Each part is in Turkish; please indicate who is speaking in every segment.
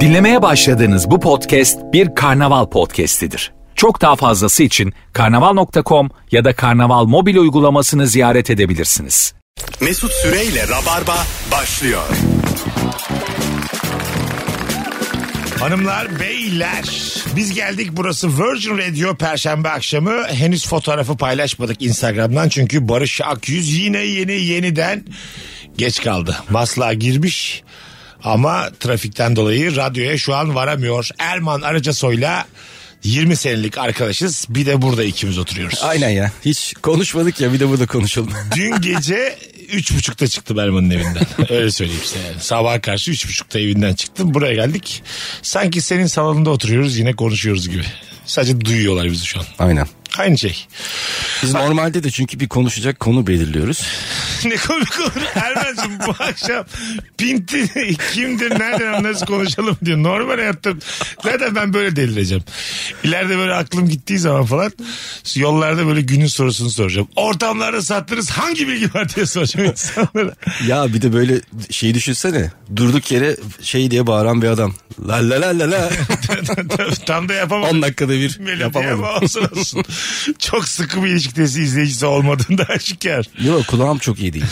Speaker 1: Dinlemeye başladığınız bu podcast bir karnaval podcastidir. Çok daha fazlası için karnaval.com ya da karnaval mobil uygulamasını ziyaret edebilirsiniz.
Speaker 2: Mesut Süreyle Rabarba başlıyor.
Speaker 3: Hanımlar, beyler biz geldik burası Virgin Radio Perşembe akşamı henüz fotoğrafı paylaşmadık Instagram'dan çünkü Barış Akyüz yine yeni yeniden geç kaldı. Maslağa girmiş ama trafikten dolayı radyoya şu an varamıyor. Erman Aracasoy'la 20 senelik arkadaşız bir de burada ikimiz oturuyoruz.
Speaker 4: Aynen ya. Hiç konuşmadık ya bir de burada konuşalım.
Speaker 3: Dün gece üç buçukta çıktım Erman'ın evinden. Öyle söyleyeyim size yani. Sabah karşı üç buçukta evinden çıktım. Buraya geldik. Sanki senin salonunda oturuyoruz yine konuşuyoruz gibi. Sadece duyuyorlar bizi şu an.
Speaker 4: Aynen.
Speaker 3: Aynı şey.
Speaker 4: Biz normalde de çünkü bir konuşacak konu belirliyoruz.
Speaker 3: ne komik olur. Erman'cığım bu akşam pinti kimdir nereden anlarız konuşalım diyor. Normal hayatta zaten ben böyle delireceğim. İleride böyle aklım gittiği zaman falan yollarda böyle günün sorusunu soracağım. Ortamlarda sattınız hangi bilgi var diye soracağım insanlara.
Speaker 4: Ya bir de böyle şey düşünsene. Durduk yere şey diye bağıran bir adam. La la la la la.
Speaker 3: Tam da yapamadım.
Speaker 4: 10 dakikada bir
Speaker 3: Melodi
Speaker 4: yapamadım.
Speaker 3: ama olsun olsun. Çok sıkı bir ilişkidesi izleyicisi olmadığında aşikar.
Speaker 4: Yok kulağım çok iyi değil.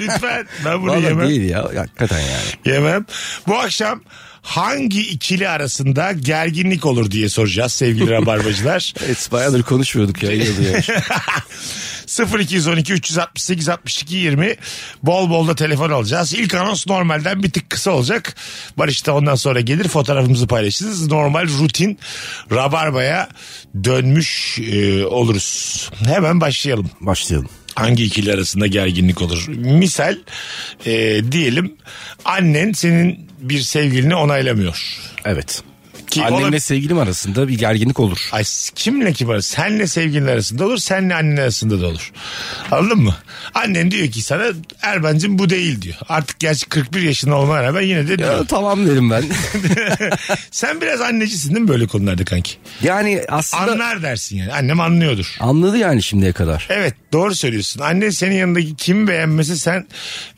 Speaker 3: Lütfen ben bunu
Speaker 4: Vallahi
Speaker 3: yemem.
Speaker 4: değil ya. Hakikaten yani.
Speaker 3: Yemem. Bu akşam hangi ikili arasında gerginlik olur diye soracağız sevgili rabarbacılar.
Speaker 4: Evet bayağıdır konuşmuyorduk ya. iyi oluyor.
Speaker 3: 0212 368 62 20 bol bol da telefon alacağız. İlk anons normalden bir tık kısa olacak. Barış da ondan sonra gelir fotoğrafımızı paylaşırız. Normal rutin rabarbaya dönmüş e, oluruz. Hemen başlayalım.
Speaker 4: Başlayalım.
Speaker 3: hangi ikili arasında gerginlik olur? Misal e, diyelim annen senin bir sevgilini onaylamıyor.
Speaker 4: Evet.
Speaker 3: Ki
Speaker 4: Annemle
Speaker 3: ola-
Speaker 4: sevgilim arasında bir gerginlik olur.
Speaker 3: Ay s- kimle kim var? Senle sevgilin arasında olur, senle annen arasında da olur. Anladın mı? Annen diyor ki sana Erben'cim bu değil diyor. Artık gerçi 41 yaşında olmana rağmen yine de
Speaker 4: Ya,
Speaker 3: diyor.
Speaker 4: tamam derim ben.
Speaker 3: Sen biraz annecisin değil mi böyle konularda kanki?
Speaker 4: yani aslında
Speaker 3: Anlar dersin yani. Annem anlıyordur.
Speaker 4: anladı yani şimdiye kadar.
Speaker 3: Evet doğru söylüyorsun. Annen senin yanındaki kimi beğenmesi sen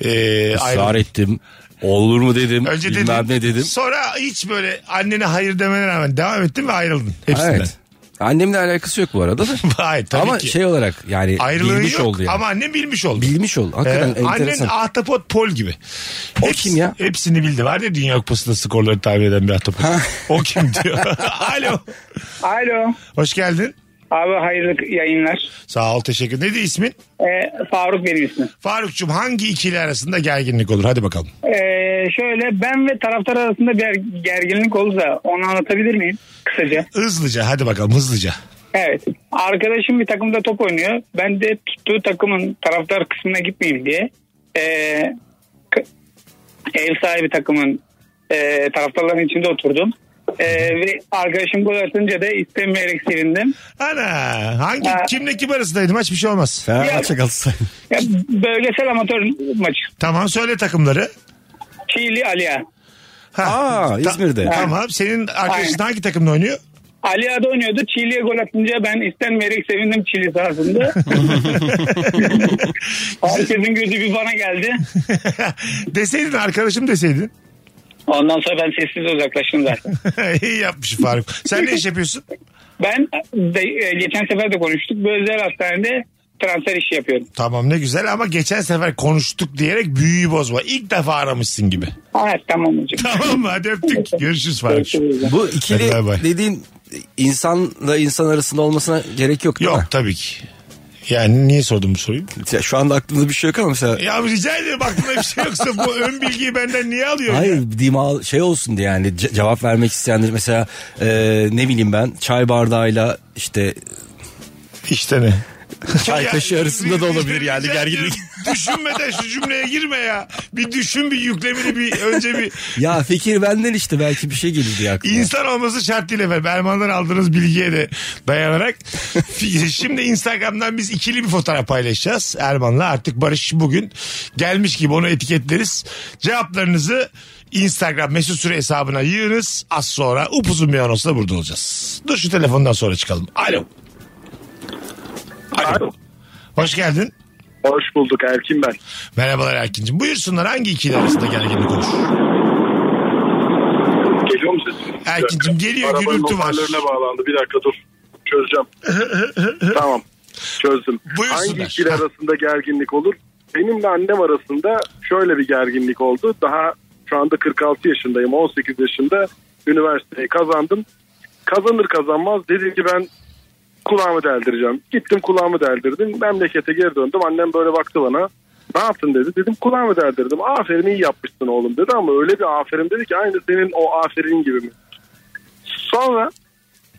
Speaker 3: e, ayrı-
Speaker 4: Israr ettim. Olur mu dedim.
Speaker 3: Önce
Speaker 4: bilmem
Speaker 3: dedim,
Speaker 4: ne dedim.
Speaker 3: Sonra hiç böyle annene hayır demene rağmen devam ettin ve ayrıldın hepsinden.
Speaker 4: Evet. Annemle alakası yok bu arada da.
Speaker 3: Hayır tabii
Speaker 4: ama
Speaker 3: ki.
Speaker 4: şey olarak yani
Speaker 3: Ayrılığın
Speaker 4: bilmiş
Speaker 3: yok
Speaker 4: oldu yani.
Speaker 3: ama annen bilmiş oldu.
Speaker 4: Bilmiş oldu.
Speaker 3: Ee,
Speaker 4: Hakikaten
Speaker 3: annen
Speaker 4: enteresan.
Speaker 3: ahtapot pol gibi.
Speaker 4: O kim ya?
Speaker 3: Hepsini bildi. Var ya Dünya Kupası'nda skorları tahmin eden bir ahtapot. o kim diyor. Alo.
Speaker 5: Alo.
Speaker 3: Hoş geldin.
Speaker 5: Abi hayırlı yayınlar.
Speaker 3: Sağ ol teşekkür. Neydi ismin?
Speaker 5: Ee, Faruk benim ismim.
Speaker 3: Faruk'cum hangi ikili arasında gerginlik olur? Hadi bakalım.
Speaker 5: Ee, şöyle ben ve taraftar arasında bir ger- gerginlik olursa onu anlatabilir miyim kısaca?
Speaker 3: Hızlıca hadi bakalım hızlıca.
Speaker 5: Evet. Arkadaşım bir takımda top oynuyor. Ben de tuttuğu takımın taraftar kısmına gitmeyeyim diye ee, k- ev sahibi takımın ee, taraftarların içinde oturdum. Ee, ve arkadaşım gol atınca da istemeyerek sevindim.
Speaker 3: Ana hangi
Speaker 5: Ha.
Speaker 3: kimle kim arasındaydı maç bir şey olmaz.
Speaker 4: Fenerbahçe Galatasaray.
Speaker 5: Ya, bölgesel amatör maçı.
Speaker 3: Tamam söyle takımları.
Speaker 5: Çiğli Aliya.
Speaker 3: Ha.
Speaker 4: Aa
Speaker 3: Ta-
Speaker 4: İzmir'de.
Speaker 3: Tamam. Senin arkadaşın hangi takımda oynuyor?
Speaker 5: Ali Ada oynuyordu. Çiğli'ye gol atınca ben istenmeyerek sevindim Çiğli sahasında. Herkesin gözü bir bana geldi.
Speaker 3: deseydin arkadaşım deseydin.
Speaker 5: Ondan sonra ben sessiz uzaklaştım zaten.
Speaker 3: İyi yapmış Faruk. Sen ne iş yapıyorsun?
Speaker 5: Ben de, e, geçen sefer de konuştuk. Bir özel hastanede transfer işi yapıyorum.
Speaker 3: Tamam ne güzel ama geçen sefer konuştuk diyerek büyüyü bozma. İlk defa aramışsın gibi.
Speaker 5: Evet tamam hocam.
Speaker 3: Tamam mı? Hadi öptük. Görüşürüz Faruk.
Speaker 4: Bu
Speaker 3: Hadi
Speaker 4: ikili
Speaker 3: bay bay.
Speaker 4: dediğin insanla insan arasında olmasına gerek yok değil
Speaker 3: Yok
Speaker 4: mi?
Speaker 3: tabii ki. Yani niye sordum bu soruyu?
Speaker 4: Ya Şu anda aklımda bir şey yok ama mesela
Speaker 3: Ya rica ederim aklımda bir şey yoksa bu ön bilgiyi benden niye alıyorsun?
Speaker 4: Hayır dima şey olsun diye yani ce- cevap vermek isteyendir mesela e, ne bileyim ben çay bardağıyla işte
Speaker 3: İşte ne?
Speaker 4: çay
Speaker 3: Ya,
Speaker 4: kaşığı arasında da
Speaker 3: bir-
Speaker 4: olabilir
Speaker 3: bir-
Speaker 4: yani
Speaker 3: rica ederim.
Speaker 4: gerginlik.
Speaker 3: Düşünmeden şu cümleye girme ya. Bir düşün bir yüklemini bir önce bir
Speaker 4: Ya fikir benden işte belki bir şey gelir diye aklıma.
Speaker 3: İnsan olması şart değil efendim. Erman'dan aldığınız bilgiye de dayanarak. Fi- Şimdi Instagram'dan biz ikili bir fotoğraf paylaşacağız Erman'la. Artık Barış bugün gelmiş gibi onu etiketleriz. Cevaplarınızı Instagram mesut süre hesabına yığınız. Az sonra upuzun bir anonsla burada olacağız. Dur şu telefondan sonra çıkalım. Alo. Alo. Hoş geldin.
Speaker 6: Hoş bulduk Erkin ben.
Speaker 3: Merhabalar Erkin'cim. Buyursunlar hangi ikili arasında gerginlik olur?
Speaker 6: Geliyor mu sesim?
Speaker 3: Erkin'cim geliyor,
Speaker 6: Arabanın
Speaker 3: gürültü var.
Speaker 6: hoparlörüne bağlandı. Bir dakika dur. Çözeceğim. tamam. Çözdüm.
Speaker 3: Buyursunlar.
Speaker 6: Hangi ikili
Speaker 3: Ha.
Speaker 6: arasında gerginlik olur? Benimle annem arasında şöyle bir gerginlik oldu. Daha şu anda 46 yaşındayım. 18 yaşında üniversiteyi kazandım. Kazanır kazanmaz dedi ki ben kulağımı deldireceğim. Gittim kulağımı deldirdim. Memlekete geri döndüm. Annem böyle baktı bana. Ne yaptın dedi. Dedim kulağımı deldirdim. Aferin iyi yapmışsın oğlum dedi ama öyle bir aferin dedi ki aynı senin o aferin gibi mi? Sonra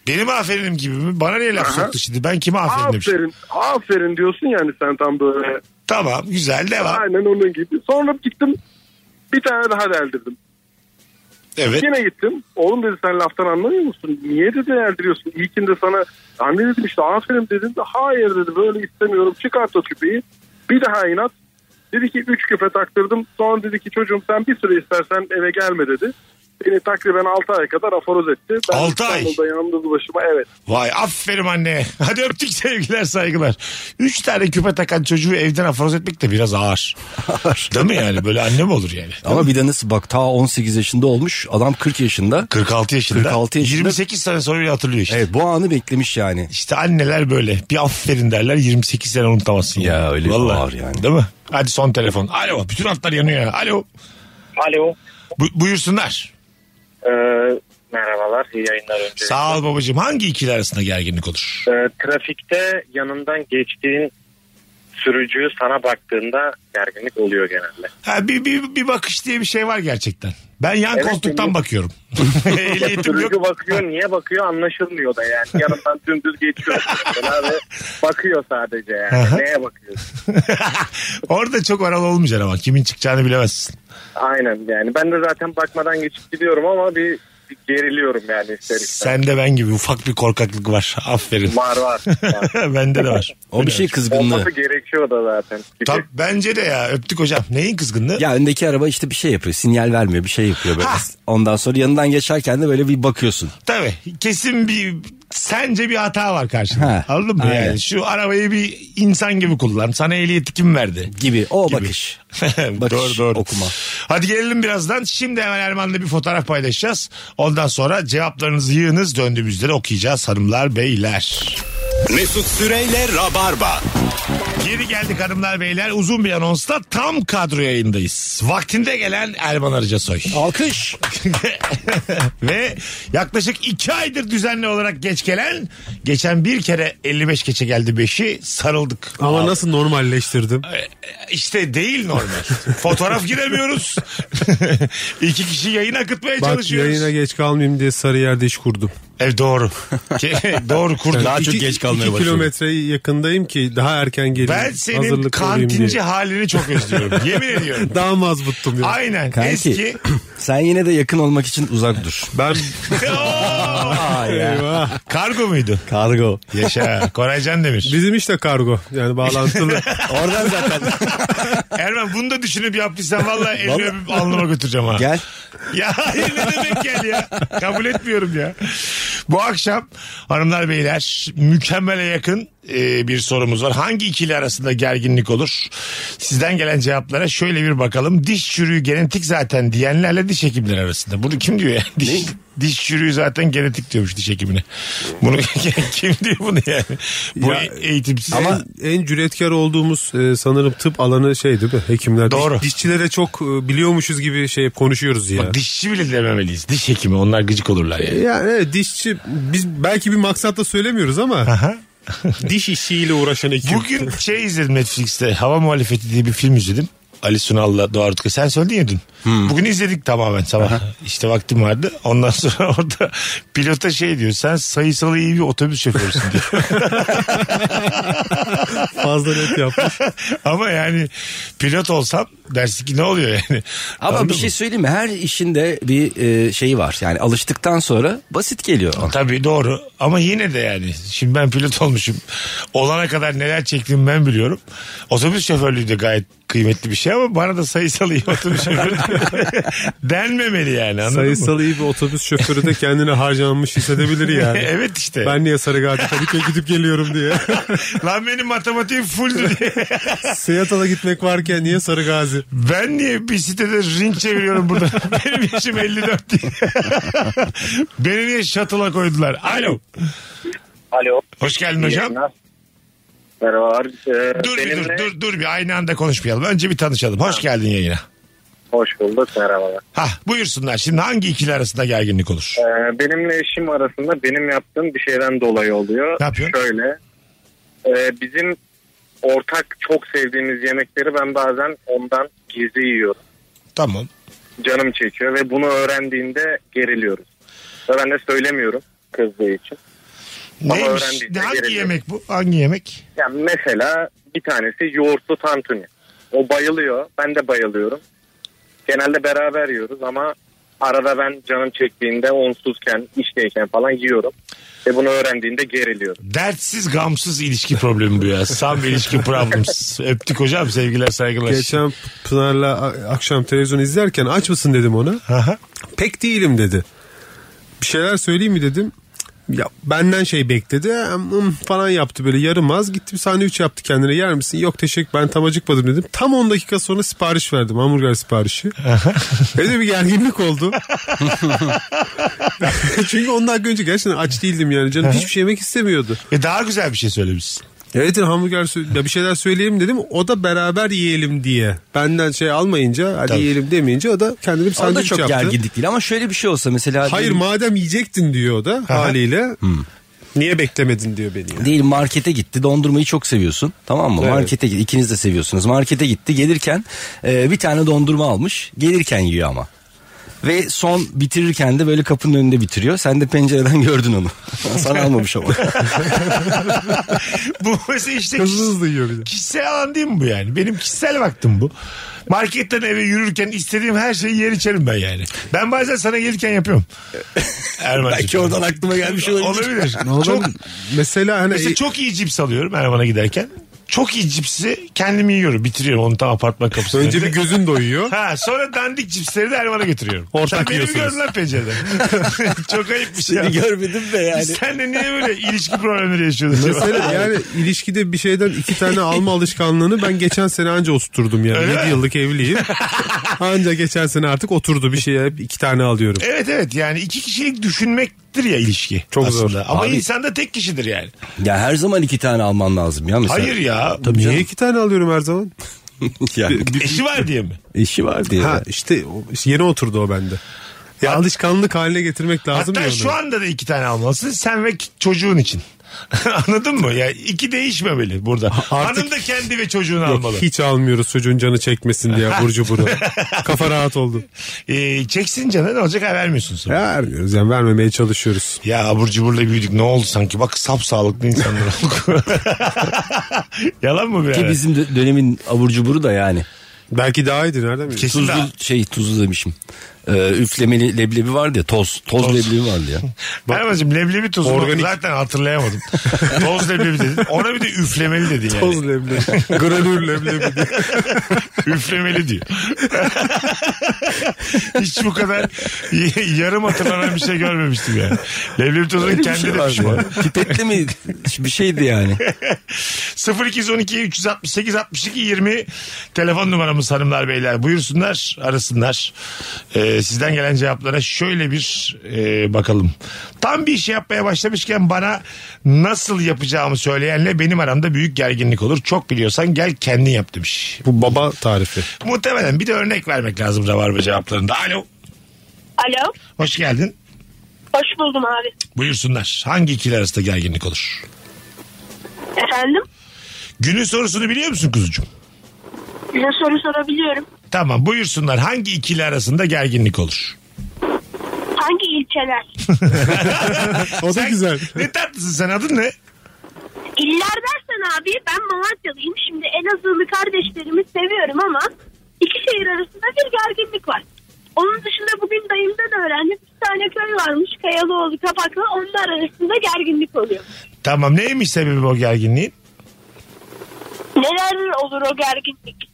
Speaker 3: Benim aferinim gibi mi? Bana niye laf
Speaker 6: Aha.
Speaker 3: soktu şimdi? Ben kime aferin demişim?
Speaker 6: aferin, aferin diyorsun yani sen tam böyle.
Speaker 3: Tamam güzel devam.
Speaker 6: Aynen onun gibi. Sonra gittim bir tane daha deldirdim.
Speaker 3: Evet.
Speaker 6: Yine gittim. Oğlum dedi sen laftan anlamıyor musun? Niye dedi derdiriyorsun? İlkinde sana anne dedim işte aferin dedim. De, Hayır dedi böyle istemiyorum. Çıkart o küpeyi. Bir daha inat. Dedi ki 3 küpe taktırdım. Sonra dedi ki çocuğum sen bir süre istersen eve gelme dedi. Beni takriben 6 ay kadar aforoz etti. Ben
Speaker 3: Altı ay?
Speaker 6: İstanbul'da yalnız başıma evet.
Speaker 3: Vay aferin anne. Hadi öptük sevgiler saygılar. Üç tane küpe takan çocuğu evden aforoz etmek de biraz ağır. Değil mi yani? Böyle anne mi olur yani?
Speaker 4: Ama bir de nasıl bak ta 18 yaşında olmuş adam 40 yaşında.
Speaker 3: 46 yaşında.
Speaker 4: 46 yaşında.
Speaker 3: 28 sene sonra bile hatırlıyor işte.
Speaker 4: Evet bu anı beklemiş yani.
Speaker 3: İşte anneler böyle. Bir aferin derler 28 sene unutamazsın.
Speaker 4: Ya
Speaker 3: yani.
Speaker 4: öyle ağır yani.
Speaker 3: Değil mi? Hadi son telefon. Alo. Bütün hatlar yanıyor ya. Alo.
Speaker 7: Alo.
Speaker 3: Bu- buyursunlar.
Speaker 7: Ee, merhabalar. iyi yayınlar önce.
Speaker 3: Sağ ol babacığım. Hangi ikili arasında gerginlik olur?
Speaker 7: Ee, trafikte yanından geçtiğin sürücü sana baktığında gerginlik oluyor genelde.
Speaker 3: Ha, bir, bir, bir bakış diye bir şey var gerçekten. Ben yan
Speaker 7: Evet,
Speaker 3: koltuktan
Speaker 7: şimdi-
Speaker 3: bakıyorum. Ehliyetim yok.
Speaker 7: Sürücü bakıyor niye bakıyor anlaşılmıyor da yani. Yanından dümdüz geçiyor mesela ve bakıyor sadece
Speaker 3: Aha.
Speaker 7: yani. Neye bakıyorsun?
Speaker 3: Orada çok oralı olmayacaksın ama kimin çıkacağını bilemezsin.
Speaker 7: Aynen yani ben de zaten bakmadan geçip gidiyorum ama bir, bir geriliyorum yani ister istemez.
Speaker 3: Sen de ben gibi ufak bir korkaklık var. Aferin.
Speaker 7: Var var. var.
Speaker 3: Bende de var.
Speaker 4: O bir şey kızgınlığı.
Speaker 7: Olması gerekiyor da zaten. Gibi.
Speaker 3: Tam, bence de ya öptük hocam. Neyin kızgınlığı?
Speaker 4: Ya öndeki araba işte bir şey yapıyor. Sinyal vermiyor bir şey yapıyor böyle.
Speaker 3: Ha.
Speaker 4: Ondan sonra yanından geçerken de böyle bir bakıyorsun.
Speaker 3: Tabii kesin bir sence bir hata var karşında.
Speaker 4: Ha,
Speaker 3: Anladın mı
Speaker 4: aynen.
Speaker 3: yani? Şu arabayı bir insan gibi kullan. Sana ehliyeti kim verdi?
Speaker 4: Gibi o
Speaker 3: Gibi.
Speaker 4: bakış. Bakış,
Speaker 3: doğru doğru.
Speaker 4: okuma.
Speaker 3: Hadi gelelim birazdan. Şimdi hemen Erman'la bir fotoğraf paylaşacağız. Ondan sonra cevaplarınızı yığınız. Döndüğümüzde de okuyacağız hanımlar beyler.
Speaker 2: Mesut Süreyle Rabarba.
Speaker 3: Geri geldik hanımlar beyler. Uzun bir anonsla tam kadro yayındayız. Vaktinde gelen Erman Arıca Soy.
Speaker 4: Alkış.
Speaker 3: Ve yaklaşık iki aydır düzenli olarak geç gelen, geçen bir kere 55 geçe geldi 5'i sarıldık.
Speaker 8: Ama nasıl normalleştirdim?
Speaker 3: İşte Ee, değil normal. Fotoğraf giremiyoruz. İki kişi yayın akıtmaya
Speaker 8: Bak
Speaker 3: çalışıyoruz.
Speaker 8: yayına geç kalmayayım diye Sarıyer'de iş kurdum.
Speaker 3: Evet doğru. Ke- doğru kurdun.
Speaker 4: Daha çok geç kalmaya
Speaker 8: iki
Speaker 4: başladım.
Speaker 8: kilometre yakındayım ki daha erken geleyim.
Speaker 3: Ben senin
Speaker 8: Hazırlıklı olayım
Speaker 3: kantinci
Speaker 8: diye.
Speaker 3: halini çok özlüyorum. Yemin ediyorum.
Speaker 8: Daha mazbuttum ya.
Speaker 3: Aynen.
Speaker 4: Kanki.
Speaker 3: Eski.
Speaker 4: Sen yine de yakın olmak için uzak dur.
Speaker 8: Ben
Speaker 3: Oo!
Speaker 4: Aa ya.
Speaker 3: Kargo muydu?
Speaker 4: Kargo.
Speaker 3: Yaşa. Koray Can Demir.
Speaker 8: bizim işte kargo yani bağlantılı.
Speaker 4: Oradan zaten.
Speaker 3: Erman bunu da düşünüp yaptıysan valla elini
Speaker 4: Vallahi-
Speaker 3: öpüp alnıma götüreceğim ha.
Speaker 4: Gel.
Speaker 3: Ya hayır ne demek gel ya. Kabul etmiyorum ya. Bu akşam hanımlar beyler mükemmele yakın e, bir sorumuz var. Hangi ikili arasında gerginlik olur? Sizden gelen cevaplara şöyle bir bakalım. Diş çürüğü genetik zaten diyenlerle diş hekimleri arasında. Bunu kim diyor ya? Diş, diş çürüğü zaten genetik diyormuş diş hekimine. Bunu kim diyor bunu yani? Bu
Speaker 8: Ya-
Speaker 3: eğitimsiz.
Speaker 8: Ama en cüretkar olduğumuz e, sanırım tıp alanı şey değil mi? Hekimler.
Speaker 3: Doğru.
Speaker 8: Diş- dişçilere çok e, biliyormuşuz gibi şey konuşuyoruz ya.
Speaker 3: Bak dişçi bile dememeliyiz. Diş hekimi onlar gıcık olurlar yani.
Speaker 8: yani evet, dişçi biz belki bir maksatla söylemiyoruz ama
Speaker 3: Aha.
Speaker 8: diş işiyle uğraşan hekim.
Speaker 3: Bugün şey izledim Netflix'te. Hava Muhalefeti diye bir film izledim. Ali Sunal'la Doğa Rutku. Sen söyledin ya dün.
Speaker 4: Hmm.
Speaker 3: Bugün izledik tamamen sabah. işte vaktim vardı. Ondan sonra orada pilota şey diyor. Sen sayısal iyi bir otobüs şoförüsün diyor.
Speaker 8: fazla net yapmış.
Speaker 3: Ama yani pilot olsam dersin ki ne oluyor yani.
Speaker 4: Ama
Speaker 3: Anladın
Speaker 4: bir şey söyleyeyim mi? Her işinde bir e, şeyi var. Yani alıştıktan sonra basit geliyor.
Speaker 3: mı? Tabii doğru ama yine de yani şimdi ben pilot olmuşum olana kadar neler çektiğimi ben biliyorum otobüs şoförlüğü de gayet kıymetli bir şey ama bana da sayısal iyi otobüs şoförü Denmemeli yani anladın mı?
Speaker 8: Sayısal iyi bir otobüs şoförü de kendini harcanmış hissedebilir yani.
Speaker 3: evet işte.
Speaker 8: Ben niye Sarıgazi Kadıköy'e gidip geliyorum diye.
Speaker 3: Lan benim matematiğim fulldü diye.
Speaker 8: Seattle'a gitmek varken niye Sarıgazi?
Speaker 3: Ben niye bir sitede ring çeviriyorum burada? Benim yaşım 54 diye. Beni niye shuttle'a koydular? Alo.
Speaker 7: Alo.
Speaker 3: Hoş geldin hocam.
Speaker 7: Merhabalar. Ee,
Speaker 3: Dur bir dur dur dur bir aynı anda konuşmayalım. Önce bir tanışalım. Hoş geldin yayına.
Speaker 7: Hoş bulduk merhabalar.
Speaker 3: Ha buyursunlar. Şimdi hangi ikili arasında gerginlik olur?
Speaker 7: Ee, benimle eşim arasında benim yaptığım bir şeyden dolayı oluyor.
Speaker 3: Ne yapıyorsun?
Speaker 7: Şöyle. e, bizim ortak çok sevdiğimiz yemekleri ben bazen ondan gizli yiyorum.
Speaker 3: Tamam.
Speaker 7: Canım çekiyor ve bunu öğrendiğinde geriliyoruz. Ve ben de söylemiyorum kızdığı için.
Speaker 3: Neymiş?
Speaker 7: öğrendiğinde
Speaker 3: Ne- Hangi
Speaker 7: geriliyor.
Speaker 3: yemek bu? Hangi yemek?
Speaker 7: Yani mesela bir tanesi yoğurtlu tantuni. O bayılıyor. Ben de bayılıyorum. Genelde beraber yiyoruz ama arada ben canım çektiğinde onsuzken, işteyken falan yiyorum. Ve bunu öğrendiğinde geriliyorum.
Speaker 3: Dertsiz gamsız ilişki problemi bu ya. Sam ilişki problems. Öptük hocam sevgiler saygılar.
Speaker 8: Geçen Pınar'la a- akşam televizyon izlerken aç mısın dedim ona.
Speaker 3: Aha.
Speaker 8: Pek değilim dedi. Bir şeyler söyleyeyim mi dedim. Ya benden şey bekledi Hmm, falan yaptı böyle yarım az gitti bir sandviç yaptı kendine yer misin yok teşekkür ben tam acıkmadım dedim tam 10 dakika sonra sipariş verdim hamburger siparişi öyle bir gerginlik oldu çünkü 10 dakika önce gerçekten aç değildim yani canım hiçbir şey yemek istemiyordu
Speaker 3: E daha güzel bir şey söylemişsin.
Speaker 8: Evet hamburger sö- ya bir şeyler söyleyeyim dedim. O da beraber yiyelim diye. Benden şey almayınca hadi
Speaker 3: Tabii.
Speaker 8: yiyelim demeyince o da kendini bir
Speaker 4: O da
Speaker 8: sandviç
Speaker 4: çok
Speaker 8: yaptı.
Speaker 4: gerginlik değil ama şöyle bir şey olsa mesela.
Speaker 8: Hayır
Speaker 4: diyelim-
Speaker 8: madem yiyecektin diyor o da haliyle. Niye beklemedin diyor beni. yani.
Speaker 4: Değil markete gitti dondurmayı çok seviyorsun tamam mı
Speaker 8: Evet.
Speaker 4: markete gitti ikiniz de seviyorsunuz markete gitti gelirken e, bir tane dondurma almış gelirken yiyor ama ve son bitirirken de böyle kapının önünde bitiriyor sen de pencereden gördün onu sana almamış ama
Speaker 3: Bu mesela işte
Speaker 8: Hızlı hızlı yiyor bir de.
Speaker 3: kişisel alan değil mi bu yani? Benim kişisel vaktim bu. Marketten eve yürürken istediğim her şeyi yer içerim ben yani. Ben bazen sana gelirken yapıyorum. Erman'cığım.
Speaker 4: belki oradan aklıma gelmiş olabilir.
Speaker 3: Olabilir.
Speaker 8: Çok,
Speaker 3: Çok,
Speaker 8: mesela hani
Speaker 3: mesela çok iyi cips alıyorum Erman'a giderken. Çok iyi cipsi kendim yiyorum. Bitiriyorum onu tam apartman kapısında.
Speaker 8: e, önce bir gözün doyuyor.
Speaker 3: Ha sonra dandik cipsleri de Erman'a getiriyorum.
Speaker 8: Ortak
Speaker 3: Sen beni mi
Speaker 8: yiyorsunuz.
Speaker 3: gördün lan pencereden? Çok ayıp bir şey.
Speaker 4: Seni görmedim be yani.
Speaker 3: Biz seninle niye böyle ilişki problemleri yaşıyoruz? acaba?
Speaker 8: Mesela yani ilişkide bir şeyden iki tane alma alışkanlığını ben geçen sene anca oturttum yani.
Speaker 3: Öyle
Speaker 8: 7
Speaker 3: mi?
Speaker 8: yıllık evliyim. Anca geçen sene artık oturdu bir şeye hep iki tane alıyorum.
Speaker 3: Evet evet yani iki kişilik düşünmektir ya ilişki.
Speaker 8: Çok zor.
Speaker 3: aslında. Ama
Speaker 4: Abi-
Speaker 3: insan da tek kişidir yani.
Speaker 4: ya her zaman iki tane alman lazım ya mesela
Speaker 3: Hayır ya.
Speaker 4: Tabii
Speaker 8: Niye
Speaker 4: canım.
Speaker 8: iki tane alıyorum her zaman?
Speaker 4: yani,
Speaker 3: Eşi var diye mi?
Speaker 4: işi var diye
Speaker 8: Ha işte o- işte yeni oturdu o bende. Ya alışkanlık haline getirmek lazım
Speaker 3: Hatta
Speaker 8: ya
Speaker 3: şu
Speaker 8: onu.
Speaker 3: anda da iki tane almalısın. Sen ve ki- çocuğun için. Anladın mı? Ya iki değişmemeli burada. Hanım da kendi ve çocuğunu
Speaker 8: Yok,
Speaker 3: almalı.
Speaker 8: hiç almıyoruz çocuğun canı çekmesin diye burcu buru. Kafa rahat oldu.
Speaker 3: Ee, çeksin canı ne olacak? Ha, vermiyorsun sana.
Speaker 8: Ya vermiyoruz yani vermemeye çalışıyoruz.
Speaker 3: Ya abur cuburla büyüdük ne oldu sanki? Bak sap sağlıklı insanlar olduk. Yalan mı
Speaker 4: ki
Speaker 3: birader?
Speaker 4: bizim dö- dönemin abur cuburu da yani
Speaker 8: Belki daha iyiydi nereden biliyorsun?
Speaker 3: Kesin
Speaker 4: tuzlu
Speaker 3: daha-
Speaker 4: şey tuzlu demişim Ee, üflemeli leblebi vardı ya toz toz, leblebi vardı ya
Speaker 3: Erman'cığım leblebi tozu
Speaker 8: Organik.
Speaker 3: zaten hatırlayamadım. Toz leblebi dedin. Ona bir de üflemeli dedin yani.
Speaker 8: Toz leblebi. Granül leblebi diye.
Speaker 3: Üflemeli diyor. Hiç bu kadar y- yarım hatırlanan bir şey görmemiştim yani. Leblebi tozunun kendi
Speaker 4: şey
Speaker 3: de
Speaker 4: vardı
Speaker 3: düşmanı.
Speaker 4: ya. Pipetle mi? Bir şeydi yani.
Speaker 3: 0212 368 62 20 telefon numaramız hanımlar beyler. Buyursunlar arasınlar. Ee, sizden gelen cevaplara şöyle bir e, bakalım. Tam bir şey yapmaya başlamışken bana nasıl yapacağımı söyleyenle benim aramda büyük gerginlik olur. Çok biliyorsan gel kendin yap demiş.
Speaker 8: Bu baba tarifi.
Speaker 3: Muhtemelen bir de örnek vermek lazım rabarba cevaplarında. Alo.
Speaker 9: Alo.
Speaker 3: Hoş geldin.
Speaker 9: Hoş buldum abi.
Speaker 3: Buyursunlar. Hangi ikili arasında gerginlik olur?
Speaker 9: Efendim?
Speaker 3: Günün sorusunu biliyor musun kuzucuğum?
Speaker 9: Size soru sorabiliyorum.
Speaker 3: Tamam buyursunlar. Hangi ikili arasında gerginlik olur?
Speaker 9: Hangi ilçeler?
Speaker 8: O da
Speaker 3: Sen-
Speaker 8: güzel.
Speaker 3: Ne tatlısın sen adın ne?
Speaker 9: İller dersen abi ben Malatyalıyım. Şimdi Elazığlı kardeşlerimi seviyorum ama iki şehir arasında bir gerginlik var. Onun dışında bugün dayımdan öğrendim. Bir tane köy varmış Kayalıoğlu Kapaklı. Onlar arasında gerginlik oluyor.
Speaker 3: Tamam neymiş sebebi o gerginliğin?
Speaker 9: Neler olur o gerginlik?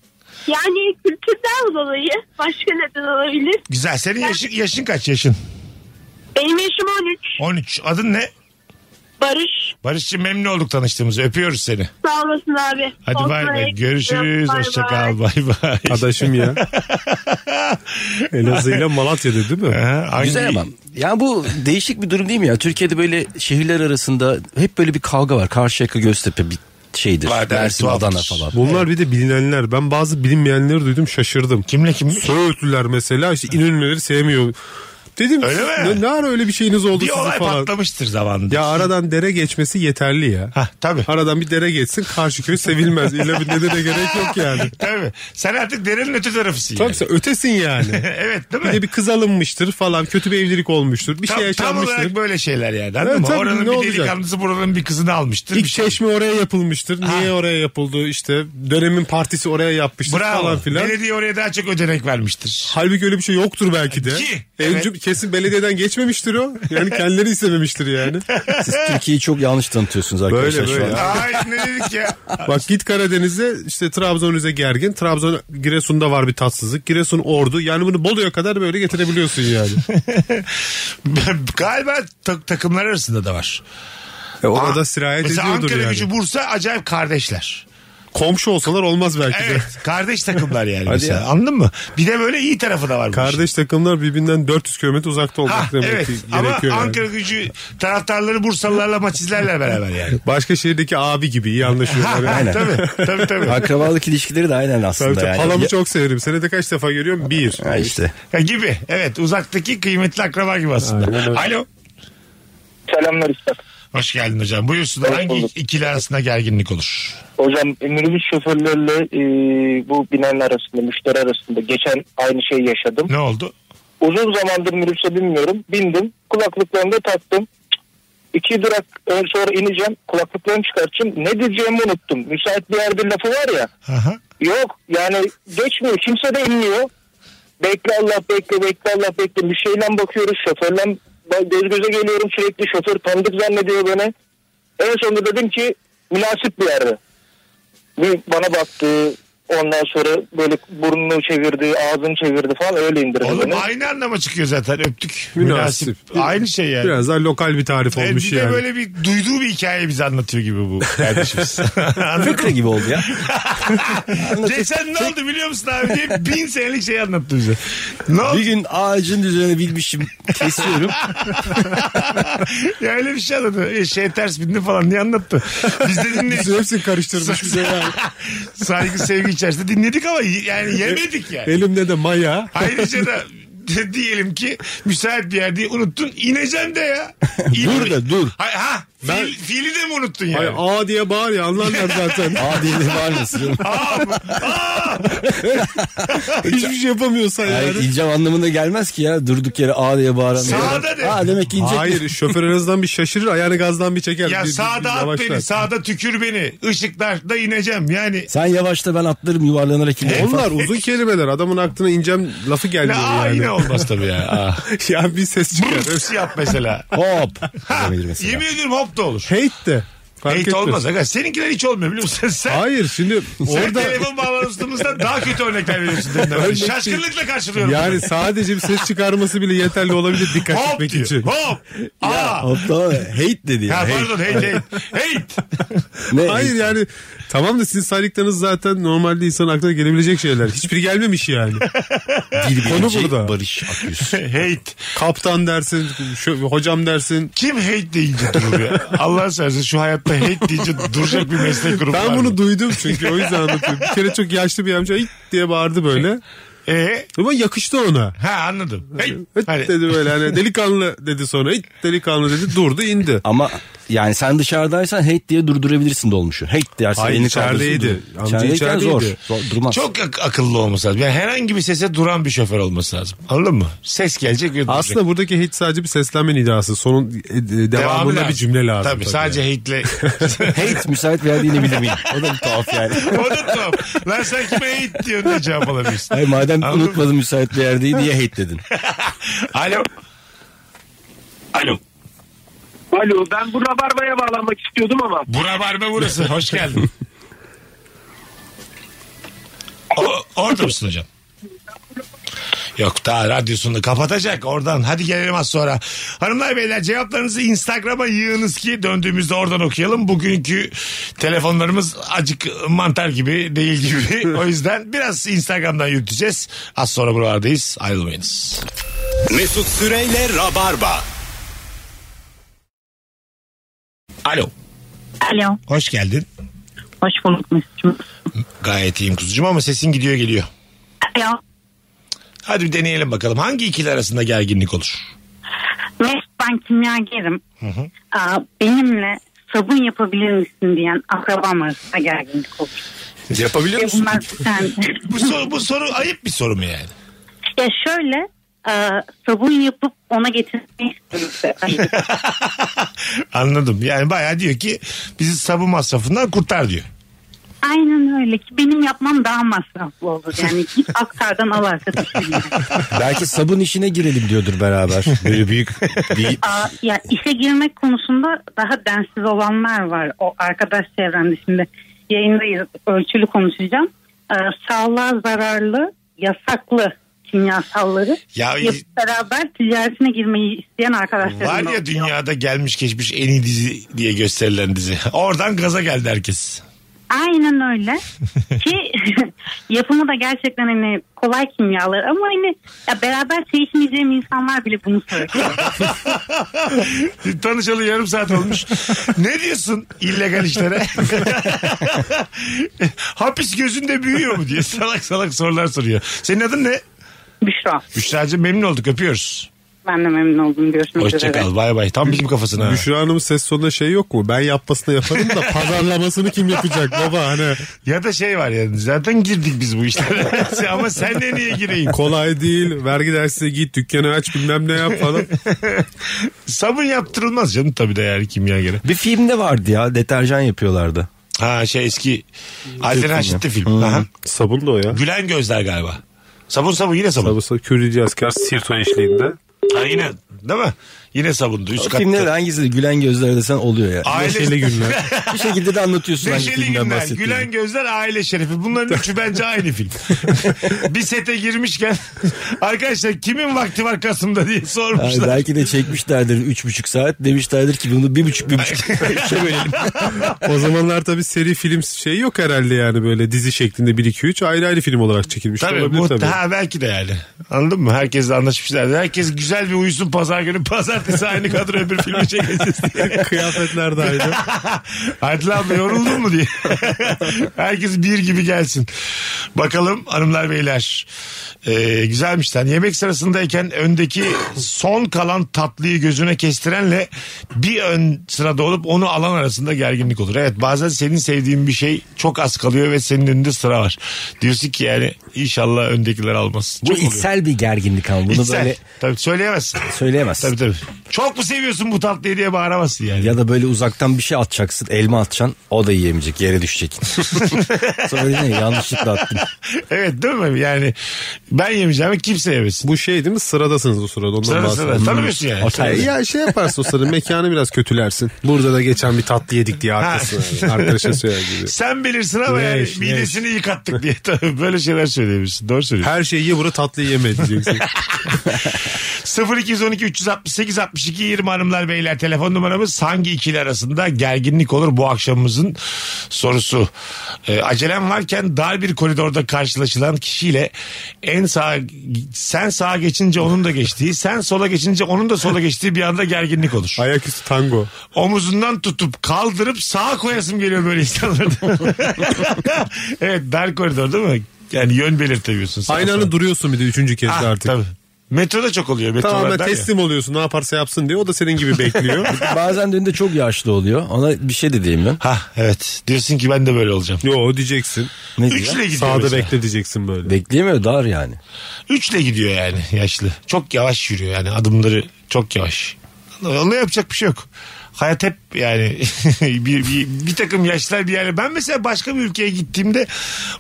Speaker 10: Yani kültürden dolayı başka neden olabilir?
Speaker 3: Güzel. Senin yaşın, yaşın kaç yaşın?
Speaker 10: Benim yaşım 13.
Speaker 3: 13. Adın ne?
Speaker 10: Barış.
Speaker 3: Barış'cığım memnun olduk tanıştığımızı. Öpüyoruz seni.
Speaker 10: Sağ olasın abi.
Speaker 3: Hadi bay bay. Görüşürüz. Hoşça kal. Bay bay.
Speaker 8: Adaşım ya. Elazığ'yla Malatya'da değil mi?
Speaker 3: Ha, hangi-
Speaker 4: Güzel ama. Ya bu değişik bir durum değil mi ya? Türkiye'de böyle şehirler arasında hep böyle bir kavga var. Karşıyaka Göztepe bir şeydir.
Speaker 3: Var, evet,
Speaker 4: Mersin,
Speaker 3: tuhaftır.
Speaker 4: Adana falan.
Speaker 8: Bunlar bir de bilinenler. Ben bazı bilinmeyenleri duydum şaşırdım.
Speaker 3: Kimle kimmiş?
Speaker 8: Söğütlüler mesela işte İnönüleri sevmiyor. Dedim
Speaker 3: Öyle mi?
Speaker 8: ne, ne ara öyle bir şeyiniz oldu
Speaker 3: Bir
Speaker 8: sizin
Speaker 3: olay
Speaker 8: falan.
Speaker 3: patlamıştır zamanında.
Speaker 8: Ya aradan dere geçmesi yeterli ya.
Speaker 3: Hah, tabii.
Speaker 8: Aradan bir dere geçsin karşı köy sevilmez. İlla bir nedene gerek yok yani.
Speaker 3: Tabii. Sen artık derenin öte tarafısın.
Speaker 8: Tabii
Speaker 3: yani.
Speaker 8: sen ötesin yani.
Speaker 3: evet değil mi?
Speaker 8: bir de bir kız alınmıştır falan. Kötü bir evlilik olmuştur. Bir
Speaker 3: tam,
Speaker 8: şey
Speaker 3: tam
Speaker 8: yaşanmıştır.
Speaker 3: olarak böyle şeyler yani. Anladın
Speaker 8: Evet,
Speaker 3: mı?
Speaker 8: tabii,
Speaker 3: Oranın
Speaker 8: ne
Speaker 3: bir
Speaker 8: olacak?
Speaker 3: delikanlısı buranın bir kızını almıştır.
Speaker 8: İlk
Speaker 3: bir şey.
Speaker 8: çeşme oraya yapılmıştır. Niye
Speaker 3: Ha.
Speaker 8: oraya yapıldı? İşte dönemin partisi oraya yapmıştır
Speaker 3: Bravo.
Speaker 8: falan filan.
Speaker 3: Belediye oraya daha çok ödenek vermiştir.
Speaker 8: Halbuki öyle bir şey yoktur belki de.
Speaker 3: Ki,
Speaker 8: Evcim kesin belediyeden geçmemiştir o. Yani kendileri istememiştir yani.
Speaker 4: Siz Türkiye'yi çok yanlış tanıtıyorsunuz arkadaşlar
Speaker 8: Eh. Böyle,
Speaker 4: şu an.
Speaker 8: böyle.
Speaker 3: Ay ne dedik ya?
Speaker 8: Bak git Karadeniz'e işte Trabzon Rize gergin. Trabzon Giresun'da var bir tatsızlık. Giresun Ordu. Yani bunu Bolu'ya kadar böyle getirebiliyorsun yani.
Speaker 3: Galiba ta- takımlar arasında da var.
Speaker 8: E, orada sirayet
Speaker 3: Mesela
Speaker 8: ediyordur
Speaker 3: Ankara
Speaker 8: yani.
Speaker 3: gücü Bursa acayip kardeşler.
Speaker 8: Komşu olsalar olmaz belki de.
Speaker 3: Evet kardeş takımlar yani mesela.
Speaker 4: ya.
Speaker 3: Anladın mı? Bir de böyle iyi tarafı da var. bu işin.
Speaker 8: Kardeş takımlar birbirinden 400 kilometre uzakta olmak
Speaker 3: Ha,
Speaker 8: demek
Speaker 3: evet
Speaker 8: ki
Speaker 3: ama
Speaker 8: gerekiyor yani.
Speaker 3: Ankara gücü taraftarları Bursalılarla maç izlerler beraber yani.
Speaker 8: Başka şehirdeki abi gibi iyi anlaşıyorlar. yani.
Speaker 4: Aynen.
Speaker 3: tabii tabii tabii.
Speaker 4: Akrabalık ilişkileri de aynen aslında
Speaker 8: Tabii tabii.
Speaker 4: yani.
Speaker 8: Halamı
Speaker 4: Ya-
Speaker 8: çok severim. Senede kaç defa görüyorum? Bir.
Speaker 4: Ha işte.
Speaker 3: Ya gibi evet uzaktaki kıymetli akraba gibi aslında. Alo.
Speaker 11: Selamlar üstad.
Speaker 3: Hoş geldin hocam. Buyursunlar
Speaker 11: Hoş
Speaker 3: hangi
Speaker 11: bulduk.
Speaker 3: ikili arasında gerginlik olur?
Speaker 11: Hocam e, minibüs şoförlerle e, bu binanın arasında müşteri arasında geçen aynı şeyi yaşadım.
Speaker 3: Ne oldu?
Speaker 11: Uzun zamandır minibüse binmiyorum. Bindim. Kulaklıklarımı da taktım. İki durak ön- sonra ineceğim. Kulaklıklarımı çıkartacağım. Ne diyeceğimi unuttum. Müsait bir yerde lafı var ya.
Speaker 3: Aha.
Speaker 11: Yok yani geçmiyor. Kimse de inmiyor. Bekle Allah bekle bekle Allah bekle. Bir şeyle bakıyoruz şoförle. Ben göz göze geliyorum sürekli şoför tanıdık zannediyor beni. En sonunda dedim ki münasip bir yerde. Bir bana baktı. Ondan sonra böyle burnunu çevirdi, ağzını çevirdi falan öyle indirdi
Speaker 3: Oğlum
Speaker 11: beni.
Speaker 3: aynı anlama çıkıyor zaten öptük.
Speaker 8: Münasip.
Speaker 3: Aynı şey yani.
Speaker 8: Biraz daha lokal bir tarif
Speaker 3: E,
Speaker 8: olmuş
Speaker 3: bir de
Speaker 8: yani.
Speaker 3: böyle bir duyduğu bir hikaye bize anlatıyor gibi bu kardeşimiz. Anladın
Speaker 4: Fıkra gibi oldu ya.
Speaker 3: mı? Geçen Şey, ne oldu biliyor musun abi diye bin senelik şey anlattı bize. Ne oldu?
Speaker 4: Bir gün ağacın üzerine bilmişim kesiyorum.
Speaker 3: ya öyle bir şey anlattı. E, şey ters bindi falan diye anlattı. Biz de dinledik.
Speaker 8: Bizim hepsini karıştırmış bize yani.
Speaker 3: Saygı sevgi içerisinde dinledik ama y-
Speaker 8: E,
Speaker 3: yani yemedik yani.
Speaker 8: Elimde de maya.
Speaker 3: Ayrıca da de- diyelim ki müsait bir yerde unuttun ineceksin de ya.
Speaker 4: Dur da, dur.
Speaker 3: Ha, ha fiil-
Speaker 8: Ben-
Speaker 3: fiili de mi unuttun yani?
Speaker 8: Ay, A diye bağır ya anlarlar zaten.
Speaker 4: Adili var mısın?
Speaker 3: Aa, bu-
Speaker 8: Hiçbir şey yapamıyorsan
Speaker 4: Hayır,
Speaker 8: yani.
Speaker 4: ineceğim anlamına gelmez ki ya. Durduk yere A diye bağıran.
Speaker 3: Sağda de.
Speaker 4: Ha demek ki inecek.
Speaker 8: Hayır şoför en azından bir şaşırır ayağını gazdan bir çeker.
Speaker 3: ya
Speaker 8: bir- bir-
Speaker 3: sağda
Speaker 8: bir
Speaker 3: at
Speaker 8: yavaşlar.
Speaker 3: beni sağda tükür beni ışıklarda ineceğim yani.
Speaker 4: Sen yavaşla ben atlarım yuvarlanarak ineceğim.
Speaker 8: Onlar uzun kelimeler adamın aklına ineceğim lafı
Speaker 3: Ne
Speaker 8: gelmiyor
Speaker 3: aa
Speaker 8: yani.
Speaker 3: yine olmaz tabii ya. Ah. Aa.
Speaker 8: ya bir ses çıkar.
Speaker 3: Brrrs yap mesela.
Speaker 4: Hop.
Speaker 3: Ha,
Speaker 4: Demedir mesela.
Speaker 3: yemin ediyorum hop da olur.
Speaker 8: Hate de. Fark
Speaker 3: Hate
Speaker 8: etmez.
Speaker 3: olmaz. Aga. Seninkiler hiç olmuyor biliyor musun? Sen,
Speaker 8: Hayır şimdi
Speaker 3: sen
Speaker 8: orada
Speaker 3: telefon bağlantımızda daha kötü örnekler veriyorsun. dedim ben.
Speaker 8: Örnek değil.
Speaker 3: Şaşkınlıkla karşılıyorum.
Speaker 8: yani sadece bir ses çıkarması bile yeterli olabilir dikkat
Speaker 3: hop
Speaker 8: çekmek
Speaker 3: diyor.
Speaker 8: için.
Speaker 3: Hop. Aa.
Speaker 4: Hop da hate dedi ya.
Speaker 3: Ha,
Speaker 4: hate.
Speaker 3: pardon hate hate. Hate.
Speaker 4: Ne
Speaker 8: Hayır
Speaker 4: hate?
Speaker 8: yani tamam da sizin saydıklarınız zaten normalde insan aklına gelebilecek şeyler. Hiçbiri gelmemiş yani.
Speaker 4: Dil
Speaker 8: Konu
Speaker 4: bilinci
Speaker 8: burada.
Speaker 4: Barış Akyüz.
Speaker 3: hate.
Speaker 8: Kaptan dersin, şu, hocam dersin.
Speaker 3: Kim hate deyince durur ya? Allah seversen şu hayatta hate deyince duracak bir meslek grubu var
Speaker 8: Ben
Speaker 3: mı?
Speaker 8: bunu duydum çünkü o yüzden anlatıyorum. Bir kere çok yaşlı bir amca "Hit" diye bağırdı böyle.
Speaker 3: Ee?
Speaker 8: Ama yakıştı ona.
Speaker 3: Ha anladım. Hate.
Speaker 8: Hit
Speaker 3: Hani-
Speaker 8: dedi böyle hani delikanlı dedi sonra. Hit delikanlı dedi durdu indi.
Speaker 4: Ama yani sen dışarıdaysan hate diye durdurabilirsin dolmuşu. Hate dersen
Speaker 8: Hayır,
Speaker 4: elini
Speaker 8: içerideydi.
Speaker 4: kaldırırsın, dur.
Speaker 8: Amca
Speaker 4: İçerideyken
Speaker 8: içerideydi.
Speaker 4: zor. Zor- Durmaz.
Speaker 3: Çok ak- akıllı olması lazım. Yani herhangi bir sese duran bir şoför olması lazım. Anladın mı? Ses gelecek ve duracak.
Speaker 8: Aslında buradaki hit sadece bir seslenme nidası. Sonun e, e,
Speaker 3: Devamı
Speaker 8: devamında
Speaker 3: lazım.
Speaker 8: bir cümle lazım.
Speaker 3: Tabii, sadece hate'le.
Speaker 4: Hate müsait bir yerde inebilir miyim? O da bir tuhaf yani.
Speaker 3: o da tuhaf. Lan sen kime hate diyorsun diye cevap alabilirsin.
Speaker 4: Hayır madem
Speaker 3: Anladım.
Speaker 4: unutmadım müsait bir yerdeyi niye hate dedin?
Speaker 3: Alo. Alo.
Speaker 5: Alo ben bu rabarbaya bağlanmak istiyordum ama.
Speaker 3: Bura var mı burası? Hoş geldin. O- orada mısın hocam? Yok daha radyosunu kapatacak oradan. Hadi gelelim az sonra. Hanımlar beyler cevaplarınızı Instagram'a yığınız ki döndüğümüzde oradan okuyalım. Bugünkü telefonlarımız acık mantar gibi değil gibi. o yüzden biraz Instagram'dan yürüteceğiz. Az sonra buralardayız ayrılmayınız.
Speaker 2: Mesut Süreyle Rabarba.
Speaker 3: Alo.
Speaker 9: Alo.
Speaker 3: Hoş geldin.
Speaker 9: Hoş bulduk Mesut'cum.
Speaker 3: Gayet iyiyim kuzucuğum ama sesin gidiyor geliyor.
Speaker 9: Alo.
Speaker 3: Hadi bir deneyelim bakalım. Hangi ikili arasında gerginlik olur?
Speaker 9: Mesut ben kimyagerim.
Speaker 3: hı.
Speaker 9: Aa, benimle sabun yapabilir misin diyen akrabam arasında gerginlik olur.
Speaker 4: Yapabiliyor
Speaker 9: Ya Şey, bunlar sen...
Speaker 3: E, Bu soru, bu soru ayıp bir soru mu yani?
Speaker 9: ya şöyle aa, sabun yapıp ona getirmeyi istiyorum.
Speaker 3: Anladım. Yani bayağı diyor ki bizi sabun masrafından kurtar diyor.
Speaker 9: Aynen öyle ki benim yapmam daha masraflı olur. Yani git aktardan al arkadaşım.
Speaker 4: Belki sabun işine girelim diyordur beraber. Böyle büyük bir
Speaker 9: Aa, ya işe girmek konusunda daha densiz olanlar var. O arkadaş çevremde şimdi yayındayız ölçülü konuşacağım. Ee, sağlığa zararlı, yasaklı kimyasalları
Speaker 3: Ya-
Speaker 9: yapıp beraber ticaretine girmeyi isteyen arkadaşlarım
Speaker 3: Var ya
Speaker 9: oluyor.
Speaker 3: dünyada gelmiş geçmiş en iyi dizi diye gösterilen dizi. Oradan gaza geldi herkes.
Speaker 9: Aynen öyle. Ki yapımı da gerçekten hani kolay kimyalar ama hani ya beraber çay içmeyeceğim insanlar bile bunu söylüyor.
Speaker 3: Tanışalı yarım saat olmuş. ne diyorsun illegal işlere? Hapis gözünde büyüyor mu diye salak salak sorular soruyor. Senin adın ne?
Speaker 9: Büşra
Speaker 3: Büşra'cığım memnun olduk öpüyoruz.
Speaker 9: ben de memnun oldum. Görüşmek üzere.
Speaker 3: Hoşçakal bay bay. Tam bizim kafasına.
Speaker 8: Büşra Hanım'ın ses sonunda şey yok mu? Ben yapmasını yaparım da pazarlamasını kim yapacak baba hani.
Speaker 3: Ya da şey var yani zaten girdik biz bu işlere. Ama sen de niye gireyim?
Speaker 8: Kolay değil. Vergi dersine git dükkanı aç bilmem ne yap falan.
Speaker 3: Sabun yaptırılmaz canım tabii de yani kimya göre.
Speaker 4: bir filmde vardı ya deterjan yapıyorlardı.
Speaker 3: Ha şey eski Alper Raşit'te film. Aha.
Speaker 8: Sabun da o ya.
Speaker 3: Gülen gözler galiba. Sabun sabun yine sabun.
Speaker 8: Sabun sabun Kürdici asker Sirto eşliğinde.
Speaker 3: Ha, yine değil mi? Yine sabundu. Üst
Speaker 4: O filmde de
Speaker 3: katta.
Speaker 4: hangisi de gülen gözler desen oluyor ya.
Speaker 3: Aile,
Speaker 8: Neşeli günler.
Speaker 4: Bir şekilde de anlatıyorsun hangi
Speaker 3: Neşeli
Speaker 4: filmden
Speaker 3: günler,
Speaker 4: bahsettiğini.
Speaker 3: gülen gözler, aile şerefi. Bunların üçü bence aynı film. bir sete girmişken arkadaşlar kimin vakti var Kasım'da diye
Speaker 4: Yani
Speaker 3: sormuşlar.
Speaker 4: belki de çekmişlerdir üç buçuk saat demişlerdir ki bunu bir buçuk bir buçuk üçe bölelim.
Speaker 8: O zamanlar tabii seri film şey yok herhalde yani böyle dizi şeklinde 1 2 3 ayrı ayrı film olarak çekilmiş
Speaker 3: Tabii,
Speaker 8: şey olabilir
Speaker 3: bu,
Speaker 8: tabii.
Speaker 3: Ha, belki de yani. Anladın mı? Herkesle anlaşmışlardı. Herkes güzel bir uyusun pazar günü. Pazartesi aynı kadro öbür filmi çekeceğiz diye.
Speaker 8: Kıyafetler de ayrı.
Speaker 3: Adil abi yoruldun mu diye. Herkes bir gibi gelsin. Bakalım hanımlar beyler. Ee, güzelmiş lan. Yemek sırasındayken öndeki son kalan tatlıyı gözüne kestirenle bir ön sırada olup onu alan arasında gerginlik olur. Evet bazen senin sevdiğin bir şey çok az kalıyor ve senin önünde sıra var. Diyorsun ki yani inşallah öndekiler almaz.
Speaker 4: Bu
Speaker 3: Çok oluyor.
Speaker 4: içsel bir gerginlik ama bunu
Speaker 3: İçsel.
Speaker 4: böyle
Speaker 3: Tabii söyleyemezsin.
Speaker 4: söyleyemezsin.
Speaker 3: Tabii tabii. Çok mu seviyorsun bu tatlıyı diye bağıramazsın yani.
Speaker 4: Ya da böyle uzaktan bir şey atacaksın elma atacaksın o da yiyemeyecek yere düşecek. Sonra diyeceksin, yanlışlıkla attım.
Speaker 3: evet değil mi? Yani ben yemeyeceğim kimse yemesin.
Speaker 8: Bu şey değil mi? Sıradasınız o sırada. Ondan
Speaker 3: Sırada sırada.
Speaker 8: bahsediyorum.
Speaker 3: Tanımıyorsun yani.
Speaker 8: Hmm. Ya şey yaparsın o sırada mekanı biraz kötülersin. Burada da geçen bir tatlı yedik diye arkası, arkadaşa söyler gibi.
Speaker 3: Sen bilirsin ama yani
Speaker 8: Neymiş,
Speaker 3: midesini yıkattık diye. Tabii böyle şeyler söyleyebilirsin. Doğru söylüyorsun.
Speaker 8: Her şeyi ye burada tatlı yeme diyeceksin.
Speaker 3: 0212 368 62 20 hanımlar beyler telefon numaramız hangi ikili arasında gerginlik olur bu akşamımızın sorusu. Ee, acelem varken dar bir koridorda karşılaşılan kişiyle en sağ sen sağa geçince onun da geçtiği sen sola geçince onun da sola geçtiği bir anda gerginlik olur.
Speaker 8: Ayaküstü tango.
Speaker 3: omuzundan tutup kaldırıp sağa koyasım geliyor böyle insanlarda. evet dar koridor değil mi? Yani yön belirtemiyorsun. sağa
Speaker 8: Aynı
Speaker 3: sola.
Speaker 8: anda duruyorsun bir de üçüncü kez de
Speaker 3: Ah,
Speaker 8: artık.
Speaker 3: Tabii. Metroda çok oluyor.
Speaker 8: Tamamen
Speaker 3: Metrolarda
Speaker 8: teslim oluyorsun ne yaparsa yapsın diye. O da senin gibi bekliyor.
Speaker 4: Bazen de önünde çok yaşlı oluyor ona bir şey de diyeyim
Speaker 3: Ha evet. Diyorsun ki ben de böyle olacağım.
Speaker 8: Yo diyeceksin.
Speaker 4: ben. Ne diyor?
Speaker 3: Üçle gidiyor.
Speaker 8: Sağda
Speaker 3: mesela.
Speaker 8: bekle diyeceksin böyle.
Speaker 4: Bekleyemiyor dar yani.
Speaker 3: Üçle gidiyor yani yaşlı. Çok yavaş yürüyor yani adımları çok yavaş. Ona yapacak bir şey yok. Hayat hep yani bir, bir, bir takım yaşlar bir yere. Ben mesela başka bir ülkeye gittiğimde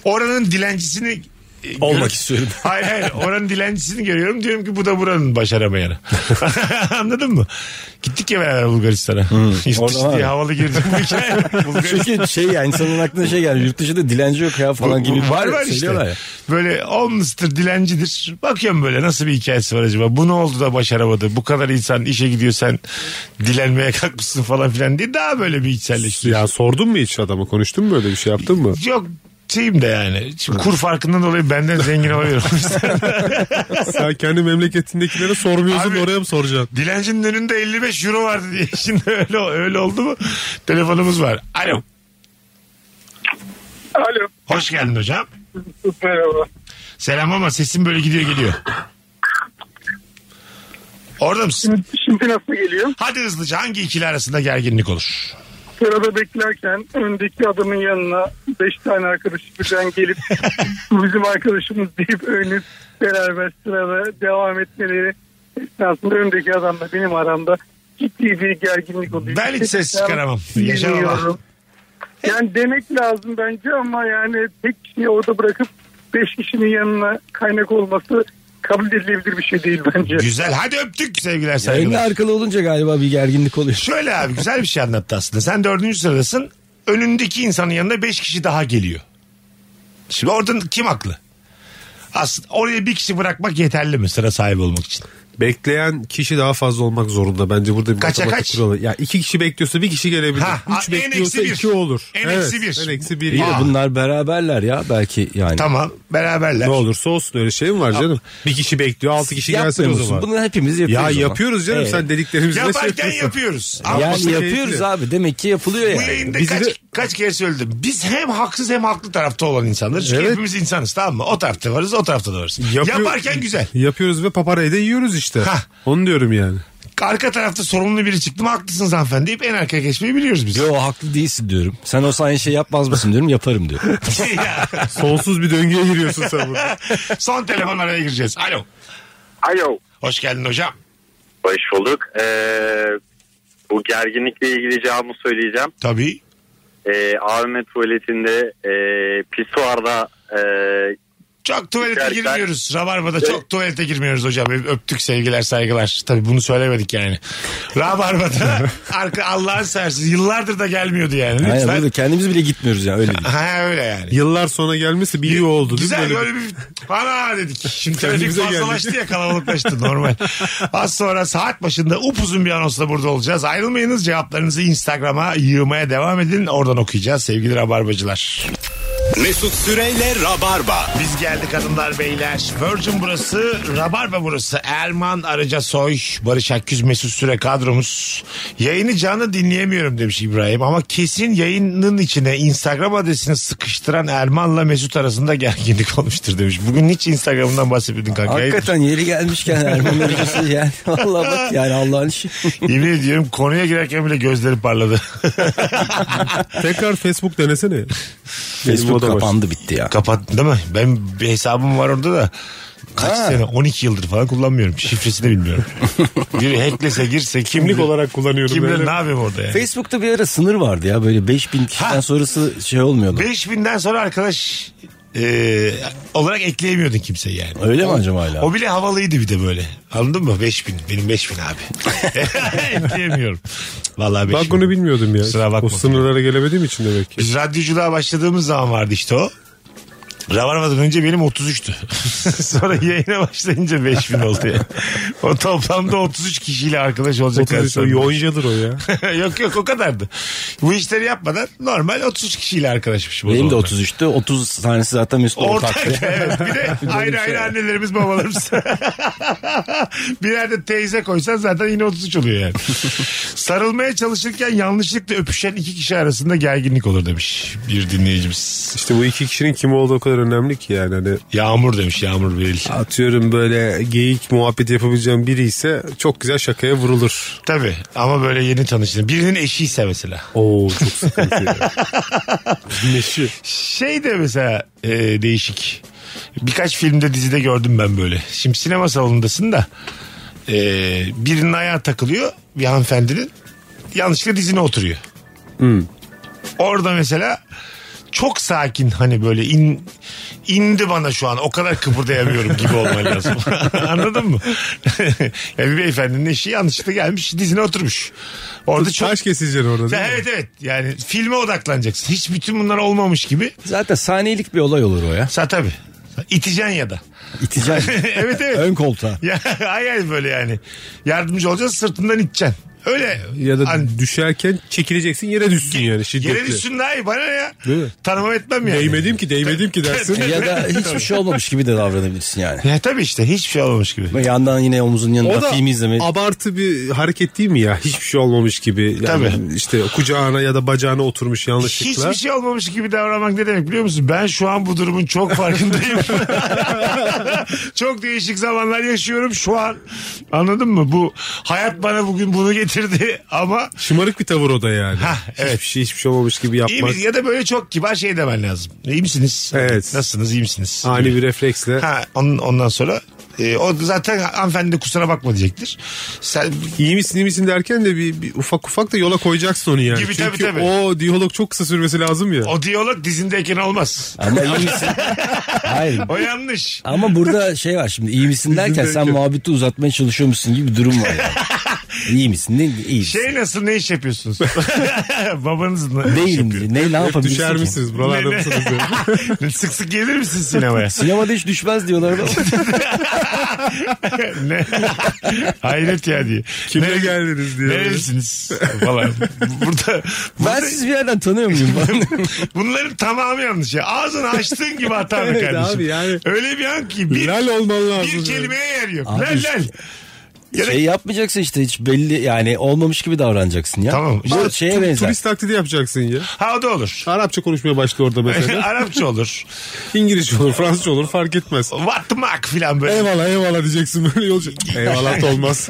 Speaker 3: oranın dilencisini e,
Speaker 4: Olmak istiyorum.
Speaker 3: Hayır hayır oranın dilencisini görüyorum diyorum ki bu da buranın başaramayanı. Anladın mı? Gittik ya beraber Bulgaristan'a. Yurt
Speaker 4: Hmm. Orada
Speaker 3: dışı
Speaker 4: var.
Speaker 3: diye havalı girdim bu hikaye. Bulgaristan-
Speaker 4: Çünkü şey yani insanın aklına şey geldi. Yurt dışında dilenci yok ya falan gibi. şey
Speaker 3: var
Speaker 8: şey
Speaker 3: var
Speaker 4: söylüyorlar
Speaker 3: işte.
Speaker 4: ya.
Speaker 3: Böyle homeless'tır, dilencidir. Bakıyorum böyle nasıl bir hikayesi var acaba? Bu ne oldu da başaramadı? Bu kadar insan işe gidiyor sen dilenmeye kalkmışsın falan filan diye daha böyle bir içselleştiriyor.
Speaker 8: Ya sordun mu hiç adama konuştun mu böyle bir şey yaptın mı?
Speaker 3: Yok şeyim de yani. Şimdi kur farkından dolayı benden zengin oluyorum.
Speaker 8: Sen kendi memleketindekilere sormuyorsun
Speaker 3: Abi-
Speaker 8: oraya mı soracaksın?
Speaker 3: Dilencinin önünde 55 euro vardı diye. Şimdi öyle öyle oldu mu? Telefonumuz var. Alo.
Speaker 12: Alo.
Speaker 3: Hoş geldin hocam.
Speaker 12: Merhaba.
Speaker 3: Selam ama sesin böyle gidiyor geliyor. Orada mısın?
Speaker 12: Şimdi nasıl geliyor?
Speaker 3: Hadi hızlıca hangi ikili arasında gerginlik olur?
Speaker 12: Sırada beklerken öndeki adamın yanına 5 tane arkadaşı birden gelip "Bu bizim arkadaşımız deyip övünüp beraber sırada devam etmeleri esnasında öndeki adamla benim aramda ciddi bir gerginlik oluyor.
Speaker 3: Ben hiç ses çıkaramam. Yaşamam.
Speaker 12: Bilmiyorum. Yani demek lazım bence ama yani tek kişiyi orada bırakıp 5 kişinin yanına kaynak olması kabul edilebilir bir şey değil bence.
Speaker 3: Güzel. Hadi öptük sevgiler
Speaker 4: Önlü
Speaker 3: saygılar.
Speaker 4: arkalı olunca galiba bir gerginlik oluyor.
Speaker 3: Şöyle abi güzel bir şey anlattı aslında. Sen dördüncü sıradasın. Önündeki insanın yanına beş kişi daha geliyor. Şimdi oradan kim haklı? Aslında oraya bir kişi bırakmak yeterli mi sıra sahibi olmak için?
Speaker 8: Bekleyen kişi daha fazla olmak zorunda bence burada bir
Speaker 3: Kaça
Speaker 8: matematik
Speaker 3: kaç?
Speaker 8: kuralı. Ya iki kişi bekliyorsa bir kişi gelebilir.
Speaker 3: Ha,
Speaker 8: Üç
Speaker 3: en
Speaker 8: bekliyorsa
Speaker 3: eksi bir.
Speaker 8: iki olur.
Speaker 3: En eksi bir.
Speaker 8: En eksi bir.
Speaker 4: İyi de
Speaker 8: Aa,
Speaker 4: bunlar beraberler ya belki yani.
Speaker 3: Tamam beraberler.
Speaker 8: Ne olursa olsun öyle şey mi var canım? Bir kişi bekliyor altı kişi gelsin o
Speaker 4: Yapmıyor musun?
Speaker 8: zaman.
Speaker 4: Bunu hepimiz
Speaker 8: ya
Speaker 4: yapıyoruz. ama.
Speaker 8: yapıyoruz canım
Speaker 4: Evet.
Speaker 8: sen dediklerimizle şey
Speaker 3: Yaparken
Speaker 8: yapıyorsun.
Speaker 3: yapıyoruz.
Speaker 4: Yani
Speaker 8: Yapması
Speaker 4: yapıyoruz
Speaker 8: keyifli.
Speaker 4: abi demek ki yapılıyor
Speaker 3: Bu
Speaker 4: yani.
Speaker 3: yayında
Speaker 8: bizi
Speaker 3: kaç,
Speaker 8: de-
Speaker 3: kaç kere söyledim. Biz hem haksız hem haklı tarafta olan insanlarız. Çünkü
Speaker 8: Evet.
Speaker 3: hepimiz insanız tamam mı? O tarafta varız o tarafta da varız.
Speaker 8: Yapıyor-
Speaker 3: Yaparken güzel.
Speaker 8: Yapıyoruz ve paparayı da yiyoruz işte.
Speaker 3: Hah.
Speaker 8: Onu diyorum yani.
Speaker 3: Arka tarafta sorumlu biri çıktı mı haklısınız hanımefendi deyip en arkaya geçmeyi biliyoruz biz.
Speaker 4: Yo haklı değilsin diyorum. Sen o aynı şey yapmaz mısın diyorum yaparım diyor.
Speaker 3: Ya.
Speaker 8: Sonsuz bir döngüye giriyorsun sen burada.
Speaker 3: Son telefon araya gireceğiz. Alo.
Speaker 7: Alo.
Speaker 3: Hoş geldin hocam.
Speaker 7: Hoş bulduk. Ee, bu gerginlikle ilgili cevabımı söyleyeceğim.
Speaker 3: Tabii.
Speaker 7: Ee, AVM tuvaletinde e, pisuarda e,
Speaker 3: Çok tuvalete
Speaker 7: Gerçekten.
Speaker 3: girmiyoruz. Rabarba'da çok tuvalete girmiyoruz hocam. Öptük sevgiler saygılar. Tabii bunu söylemedik yani. Rabarba'da arka Allah'ın sersiz. Yıllardır da gelmiyordu yani. Lütfen.
Speaker 4: Aynen burada kendimiz bile gitmiyoruz yani öyle değil.
Speaker 3: Ha öyle yani.
Speaker 8: Yıllar sonra gelmesi bir iyi oldu değil mi?
Speaker 3: Güzel
Speaker 8: Böyle
Speaker 3: böyle bir ana dedik. Şimdi trafik
Speaker 8: Kendimize
Speaker 3: fazlalaştı ya kalabalıklaştı normal. Az sonra saat başında upuzun bir anonsla burada olacağız. Ayrılmayınız cevaplarınızı Instagram'a yığmaya devam edin. Oradan okuyacağız sevgili rabarbacılar.
Speaker 2: Mesut Süreyle Rabarba.
Speaker 3: Biz geldik hanımlar beyler. Virgin burası, Rabarba burası. Erman Arıca Soy, Barış Akküz, Mesut Süre kadromuz. Yayını canlı dinleyemiyorum demiş İbrahim. Ama kesin yayının içine Instagram adresini sıkıştıran Erman'la Mesut arasında gerginlik olmuştur demiş. Bugün hiç Instagram'dan bahsetmedin kanka.
Speaker 4: Hakikaten yeri gelmişken Erman Hoca'sı yani. Valla bak yani Allah'ın işi.
Speaker 3: Yemin ediyorum konuya girerken bile gözleri parladı.
Speaker 8: Tekrar Facebook denesene.
Speaker 4: Facebook kapandı bitti ya.
Speaker 3: Kapat değil mi? Ben bir hesabım var orada da. Kaç sene? 12 yıldır falan kullanmıyorum. Şifresini de bilmiyorum. Biri hacklese girse kim
Speaker 8: Kimlik
Speaker 3: bilir-
Speaker 8: olarak kullanıyorum.
Speaker 3: Kim bilir
Speaker 8: böyle.
Speaker 3: ne yapayım orada yani.
Speaker 4: Facebook'ta bir ara sınır vardı ya böyle 5000 kişiden
Speaker 3: Ha.
Speaker 4: sonrası şey olmuyordu.
Speaker 3: 5000'den sonra arkadaş e, olarak ekleyemiyordun kimseyi yani.
Speaker 4: Öyle mi acaba hala?
Speaker 3: O bile havalıydı bir de böyle. Anladın mı? 5000. Benim 5000 abi. Ekleyemiyorum. Vallahi 5000.
Speaker 8: Bak bunu bilmiyordum ya.
Speaker 3: Kusura bakma.
Speaker 8: O sınırlara gelemediğim için demek ki.
Speaker 3: Biz radyoculuğa başladığımız zaman vardı işte o. Ravarmadan önce benim 33'tü. Sonra yayına başlayınca 5000 oldu ya. O toplamda 33 kişiyle arkadaş olacak.
Speaker 8: 33 o
Speaker 3: kadar.
Speaker 8: yoncadır o ya.
Speaker 3: yok yok o kadardı. Bu işleri yapmadan normal 33 kişiyle arkadaşmışım. o
Speaker 4: Benim de
Speaker 3: zamanlar.
Speaker 4: 33'te 30 tanesi zaten Mesut
Speaker 3: Ortak
Speaker 4: ortaktı.
Speaker 3: evet. Bir şey. de ayrı ayrı annelerimiz babalarımız. bir yerde teyze koysan zaten yine 33 oluyor yani. Sarılmaya çalışırken yanlışlıkla öpüşen iki kişi arasında gerginlik olur demiş bir dinleyicimiz.
Speaker 8: İşte bu iki kişinin kim olduğu o kadar önemli ki yani. Hani
Speaker 3: Yağmur demiş Yağmur Beril.
Speaker 8: atıyorum böyle geyik muhabbet yapabileceğim biri ise çok güzel şakaya vurulur.
Speaker 3: Tabii ama böyle yeni tanıştın. Birinin eşiyse mesela.
Speaker 8: Oo çok sıkıntı ya. Neşi.
Speaker 3: Şey de mesela e, değişik. Birkaç filmde dizide gördüm ben böyle. Şimdi sinema salonundasın da e, birinin ayağı takılıyor bir
Speaker 8: Hmm.
Speaker 3: hanımefendinin. Yanlışlıkla dizine oturuyor. Orada mesela çok sakin hani böyle in, indi bana şu an o kadar kıpırdayamıyorum gibi olman lazım. Anladın mı? yani bir beyefendinin eşi yanlışlıkla gelmiş dizine oturmuş. Orada çok...
Speaker 8: Taş keseceksin orada değil mi?
Speaker 3: Evet evet yani filme odaklanacaksın. Hiç bütün bunlar olmamış gibi.
Speaker 4: Zaten saniyelik bir olay olur o ya.
Speaker 3: Sa tabii. İteceksin ya da.
Speaker 4: İteceksin.
Speaker 3: evet evet.
Speaker 4: Ön koltuğa.
Speaker 3: Ya ay ay böyle yani. Yardımcı olacaksın sırtından iteceksin. Öyle.
Speaker 8: Ya da
Speaker 3: An-
Speaker 8: düşerken çekileceksin yere düşsün yani şiddetle.
Speaker 3: yere düşsün daha iyi bana ne ya?
Speaker 8: Değil mi?
Speaker 3: Tanımam etmem yani.
Speaker 8: Değmedim ki değmedim ki dersin.
Speaker 4: ya da hiçbir şey olmamış gibi de davranabilirsin yani.
Speaker 3: Ya tabii işte hiçbir şey olmamış gibi.
Speaker 4: Ve yandan yine omuzun yanında
Speaker 8: O da
Speaker 4: film izleme.
Speaker 8: abartı bir hareket değil mi ya? Hiçbir şey olmamış gibi. Yani
Speaker 3: Tabii.
Speaker 8: İşte kucağına ya da bacağına oturmuş yanlışlıkla.
Speaker 3: Hiçbir şey olmamış gibi davranmak ne demek biliyor musun? Ben şu an bu durumun çok farkındayım. çok değişik zamanlar yaşıyorum şu an. Anladın mı? Bu hayat bana bugün bunu getirdi ama
Speaker 8: Şımarık bir tavır o da yani.
Speaker 3: Hah, evet.
Speaker 8: Hiçbir şey hiçbir şey olmamış gibi
Speaker 3: iyi
Speaker 8: yapmak.
Speaker 3: mi- ya da böyle çok kibar şey demen lazım. İyi misiniz?
Speaker 8: Evet.
Speaker 3: Nasılsınız? İyi misiniz?
Speaker 8: Ani bir refleksle.
Speaker 3: Ha, on- ondan sonra e, o zaten hanımefendi de kusura bakma diyecektir. Sen
Speaker 8: İyi misin iyi misin derken de bir, bir ufak ufak da yola koyacaksın onu yani.
Speaker 3: Gibi, tabii,
Speaker 8: Çünkü
Speaker 3: tabii.
Speaker 8: o diyalog çok kısa sürmesi lazım ya.
Speaker 3: o diyalog dizindeyken olmaz.
Speaker 4: Ama iyi misin? Hayır.
Speaker 3: O yanlış.
Speaker 4: Ama burada şey var şimdi iyi misin derken sen muhabbeti uzatmaya çalışıyormuşsun gibi bir durum var yani. İyi misin? Ne, iyi misin?
Speaker 3: Şey nasıl ne iş yapıyorsunuz? Babanız ne iş
Speaker 4: Değilim.
Speaker 3: yapıyor?
Speaker 4: Ne, ne
Speaker 8: Şey Hep
Speaker 4: yapabilirsin
Speaker 8: düşer
Speaker 4: ki?
Speaker 8: misiniz buralarda
Speaker 3: Ne- ne-
Speaker 8: mısınız? diye.
Speaker 3: Sık sık gelir misin sinemaya?
Speaker 4: Sinemada hiç düşmez diyorlar. da.
Speaker 3: ne? Hayret ya diye.
Speaker 8: Kimle
Speaker 3: Ne-
Speaker 8: geldiniz diye.
Speaker 3: Nerelisiniz? Falan. Burada,
Speaker 4: ben
Speaker 3: burada
Speaker 4: sizi bir yerden tanıyor muyum?
Speaker 3: bunların tamamı yanlış ya. Ağzını açtığın gibi hata be
Speaker 8: Evet
Speaker 3: kardeşim.
Speaker 8: abi yani.
Speaker 3: Öyle bir an ki bir,
Speaker 8: Lal olman lazım.
Speaker 3: bir
Speaker 8: yani.
Speaker 3: kelimeye yer yok.
Speaker 4: Abi
Speaker 3: Lel
Speaker 4: işte-
Speaker 3: lel. Ya da-
Speaker 4: şey yapmayacaksın işte hiç belli yani olmamış gibi davranacaksın ya.
Speaker 3: Tamam.
Speaker 4: Bu
Speaker 3: İşte
Speaker 4: şeye
Speaker 8: Tu-
Speaker 4: benzer.
Speaker 8: Turist taklidi yapacaksın ya.
Speaker 3: Ha o da olur.
Speaker 8: Arapça konuşmaya başla orada mesela.
Speaker 3: Arapça olur.
Speaker 8: İngilizce olur, Fransızca olur fark etmez.
Speaker 3: What the fuck filan böyle.
Speaker 8: Eyvallah eyvallah diyeceksin böyle yolcu. Eyvallah da olmaz.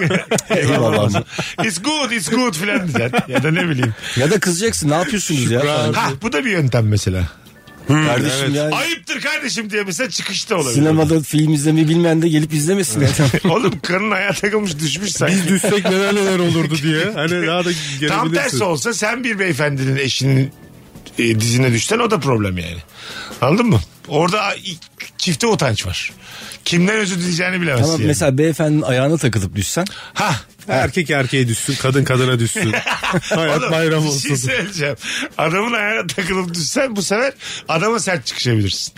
Speaker 4: Eyvallah.
Speaker 3: It's good, it's good filan diyeceksin. Ya da ne bileyim.
Speaker 4: Ya da kızacaksın ne yapıyorsunuz ya?
Speaker 8: Şükran. Hmm,
Speaker 3: Ha bu da bir yöntem mesela.
Speaker 4: Kardeşim yani
Speaker 3: Ayıptır kardeşim diye mesela çıkışta olabilir.
Speaker 4: sinemada film izlemeyi bilmeyen de gelip izlemesin. zaten.
Speaker 3: Oğlum karın ayağa takılmış düşmüş sanki.
Speaker 8: Biz düşsek neler neler olurdu diye. Hani daha da gelebilirsin.
Speaker 3: Tam tersi olsa sen bir beyefendinin eşinin e, dizine düşsen o da problem yani. Anladın mı? Orada i- çifte utanç var. Kimden özür dileyeceğini bilemezsin.
Speaker 4: Tamam
Speaker 3: yani.
Speaker 4: mesela beyefendinin ayağına takılıp düşsen.
Speaker 3: Ha.
Speaker 8: Erkek erkeğe düşsün, kadın kadına düşsün. Hayat
Speaker 3: oğlum,
Speaker 8: bayram
Speaker 3: Bir şey
Speaker 8: olsun.
Speaker 3: söyleyeceğim. Adamın ayağına takılıp düşsen bu sefer adama sert çıkışabilirsin.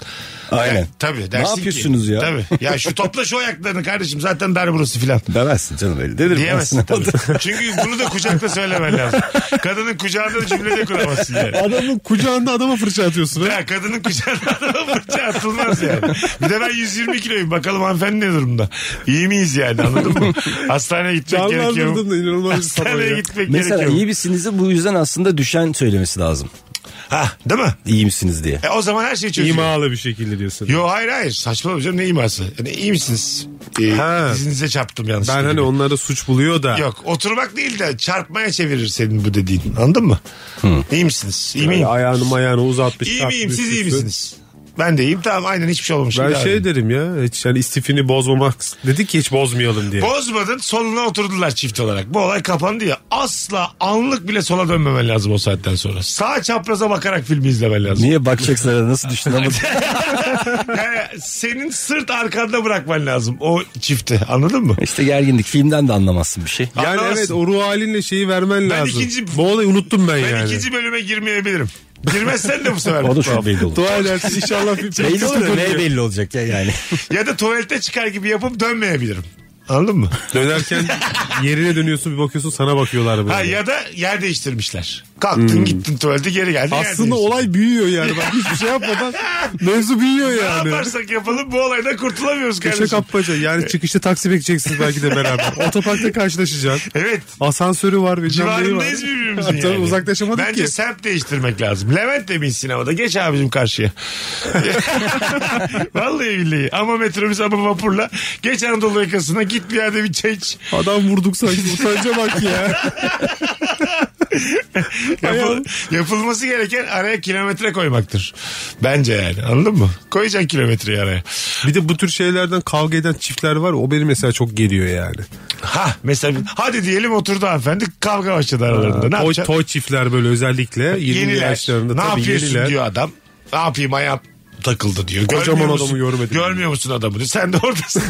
Speaker 4: Aynen.
Speaker 3: Yani, tabii dersin ki-
Speaker 4: yapıyorsunuz ya?
Speaker 3: Tabii. Ya şu topla şu ayaklarını kardeşim zaten dar burası filan.
Speaker 4: Demezsin canım öyle. Dedim
Speaker 3: Diyemezsin tabii. Çünkü bunu da kucakta söylemen lazım. Kadının kucağında da cümle de kuramazsın yani.
Speaker 8: Adamın kucağında adama fırça atıyorsun. ha.
Speaker 3: Ya kadının kucağına adama fırça atılmaz yani. Bir de ben 120 kiloyum. Bakalım hanımefendi ne durumda? İyi miyiz yani anladın mı? Hastaneye gitmek gerekiyor mu?
Speaker 8: Canlandırdım da inanılmaz bir sabah
Speaker 3: Hastaneye
Speaker 8: ya.
Speaker 3: gitmek
Speaker 4: Mesela
Speaker 3: gerekiyor
Speaker 4: iyi
Speaker 3: mu?
Speaker 4: misinizi bu yüzden aslında düşen söylemesi lazım.
Speaker 3: Ha, değil mi?
Speaker 4: İyi misiniz diye.
Speaker 3: E, o zaman her şey çözülüyor.
Speaker 8: İmalı bir şekilde diyorsun.
Speaker 3: Yo hayır hayır saçmalama canım ne iması? Yani iyi misiniz? Ee,
Speaker 8: Ha.
Speaker 3: dizinize çarptım yanlış.
Speaker 8: Ben hani onları suç buluyor da.
Speaker 3: Yok oturmak değil de çarpmaya çevirir senin bu dediğin anladın mı? İyi misiniz? İyi
Speaker 8: Yani
Speaker 3: miyim?
Speaker 8: ayağını mayağını uzatmış.
Speaker 3: İyi
Speaker 8: takmış,
Speaker 3: miyim siz iyi
Speaker 8: üstü.
Speaker 3: misiniz? Ben de iyiyim tamam aynen hiçbir şey olmamış.
Speaker 8: Ben
Speaker 3: Bir daha
Speaker 8: şey
Speaker 3: arayayım.
Speaker 8: derim ya hiç yani istifini bozmamak dedik ki hiç bozmayalım diye.
Speaker 3: Bozmadın soluna oturdular çift olarak. Bu olay kapandı ya. Asla anlık bile sola dönmemen lazım o saatten sonra. Sağ çapraza bakarak filmi izlemen lazım.
Speaker 4: Niye bakacaksın arada nasıl düştün ama
Speaker 3: Yani senin sırt arkanda bırakman lazım o çifti anladın mı?
Speaker 4: işte gerginlik filmden de anlamazsın bir şey.
Speaker 8: yani
Speaker 3: Anlamazsın.
Speaker 8: evet o ruh halinle şeyi vermen lazım.
Speaker 3: ikinci-
Speaker 8: Bu olayı unuttum ben,
Speaker 3: Ben
Speaker 8: yani.
Speaker 3: ikinci bölüme girmeyebilirim. Girmezsen de bu sefer.
Speaker 4: O da çok belli olur.
Speaker 8: Dua edersin inşallah bir
Speaker 4: belli olur ne belli olacak ya yani.
Speaker 3: Ya da tuvalete çıkar gibi yapıp dönmeyebilirim. Anladın mı?
Speaker 8: Dönerken yerine dönüyorsun bir bakıyorsun sana bakıyorlar böyle.
Speaker 3: Ha, ya da yer değiştirmişler. Kalktın gittin tuvalete geri geldin. yer
Speaker 8: Hmm. Aslında
Speaker 3: değiştirdin.
Speaker 8: olay büyüyor yani bak hiçbir şey yapmadan mevzu büyüyor
Speaker 3: Ne
Speaker 8: yani.
Speaker 3: yaparsak yapalım bu olaydan kurtulamıyoruz
Speaker 8: Köşe
Speaker 3: kardeşim.
Speaker 8: kapmaca yani çıkışta taksi bekleyeceksiniz belki de beraber. Otoparkta karşılaşacaksın.
Speaker 3: Evet.
Speaker 8: Asansörü var bilmem neyi var.
Speaker 3: Civarındayız birbirimizin yani.
Speaker 8: Tabii uzaklaşamadık
Speaker 3: Bence
Speaker 8: ki.
Speaker 3: semt değiştirmek lazım. Levent de bir sinemada. Geç abicim karşıya. Vallahi billahi. Ama metrobüs ama vapurla. Geç Anadolu yakasına git bir yerde bir çay iç.
Speaker 8: Adam vurduk sanki utanca bak ya.
Speaker 3: Yapıl- yapılması gereken araya kilometre koymaktır. Bence yani anladın mı? Koyacaksın kilometreyi araya.
Speaker 8: Bir de bu tür şeylerden kavga eden çiftler var. O beni mesela çok geliyor yani.
Speaker 3: Ha mesela hadi diyelim oturdu hanımefendi kavga başladı aralarında. Ne
Speaker 8: toy,
Speaker 3: yapacaksın?
Speaker 8: toy çiftler böyle özellikle 20
Speaker 3: Yeniler.
Speaker 8: yaşlarında
Speaker 3: Ne
Speaker 8: tabii
Speaker 3: yapıyorsun
Speaker 8: yeniler.
Speaker 3: diyor adam. Ne yapayım ayağım takıldı diyor. Görmüyor
Speaker 8: Kocaman
Speaker 3: musun?
Speaker 8: adamı yorum edin.
Speaker 3: Görmüyor musun adamı diyor. Sen de oradasın.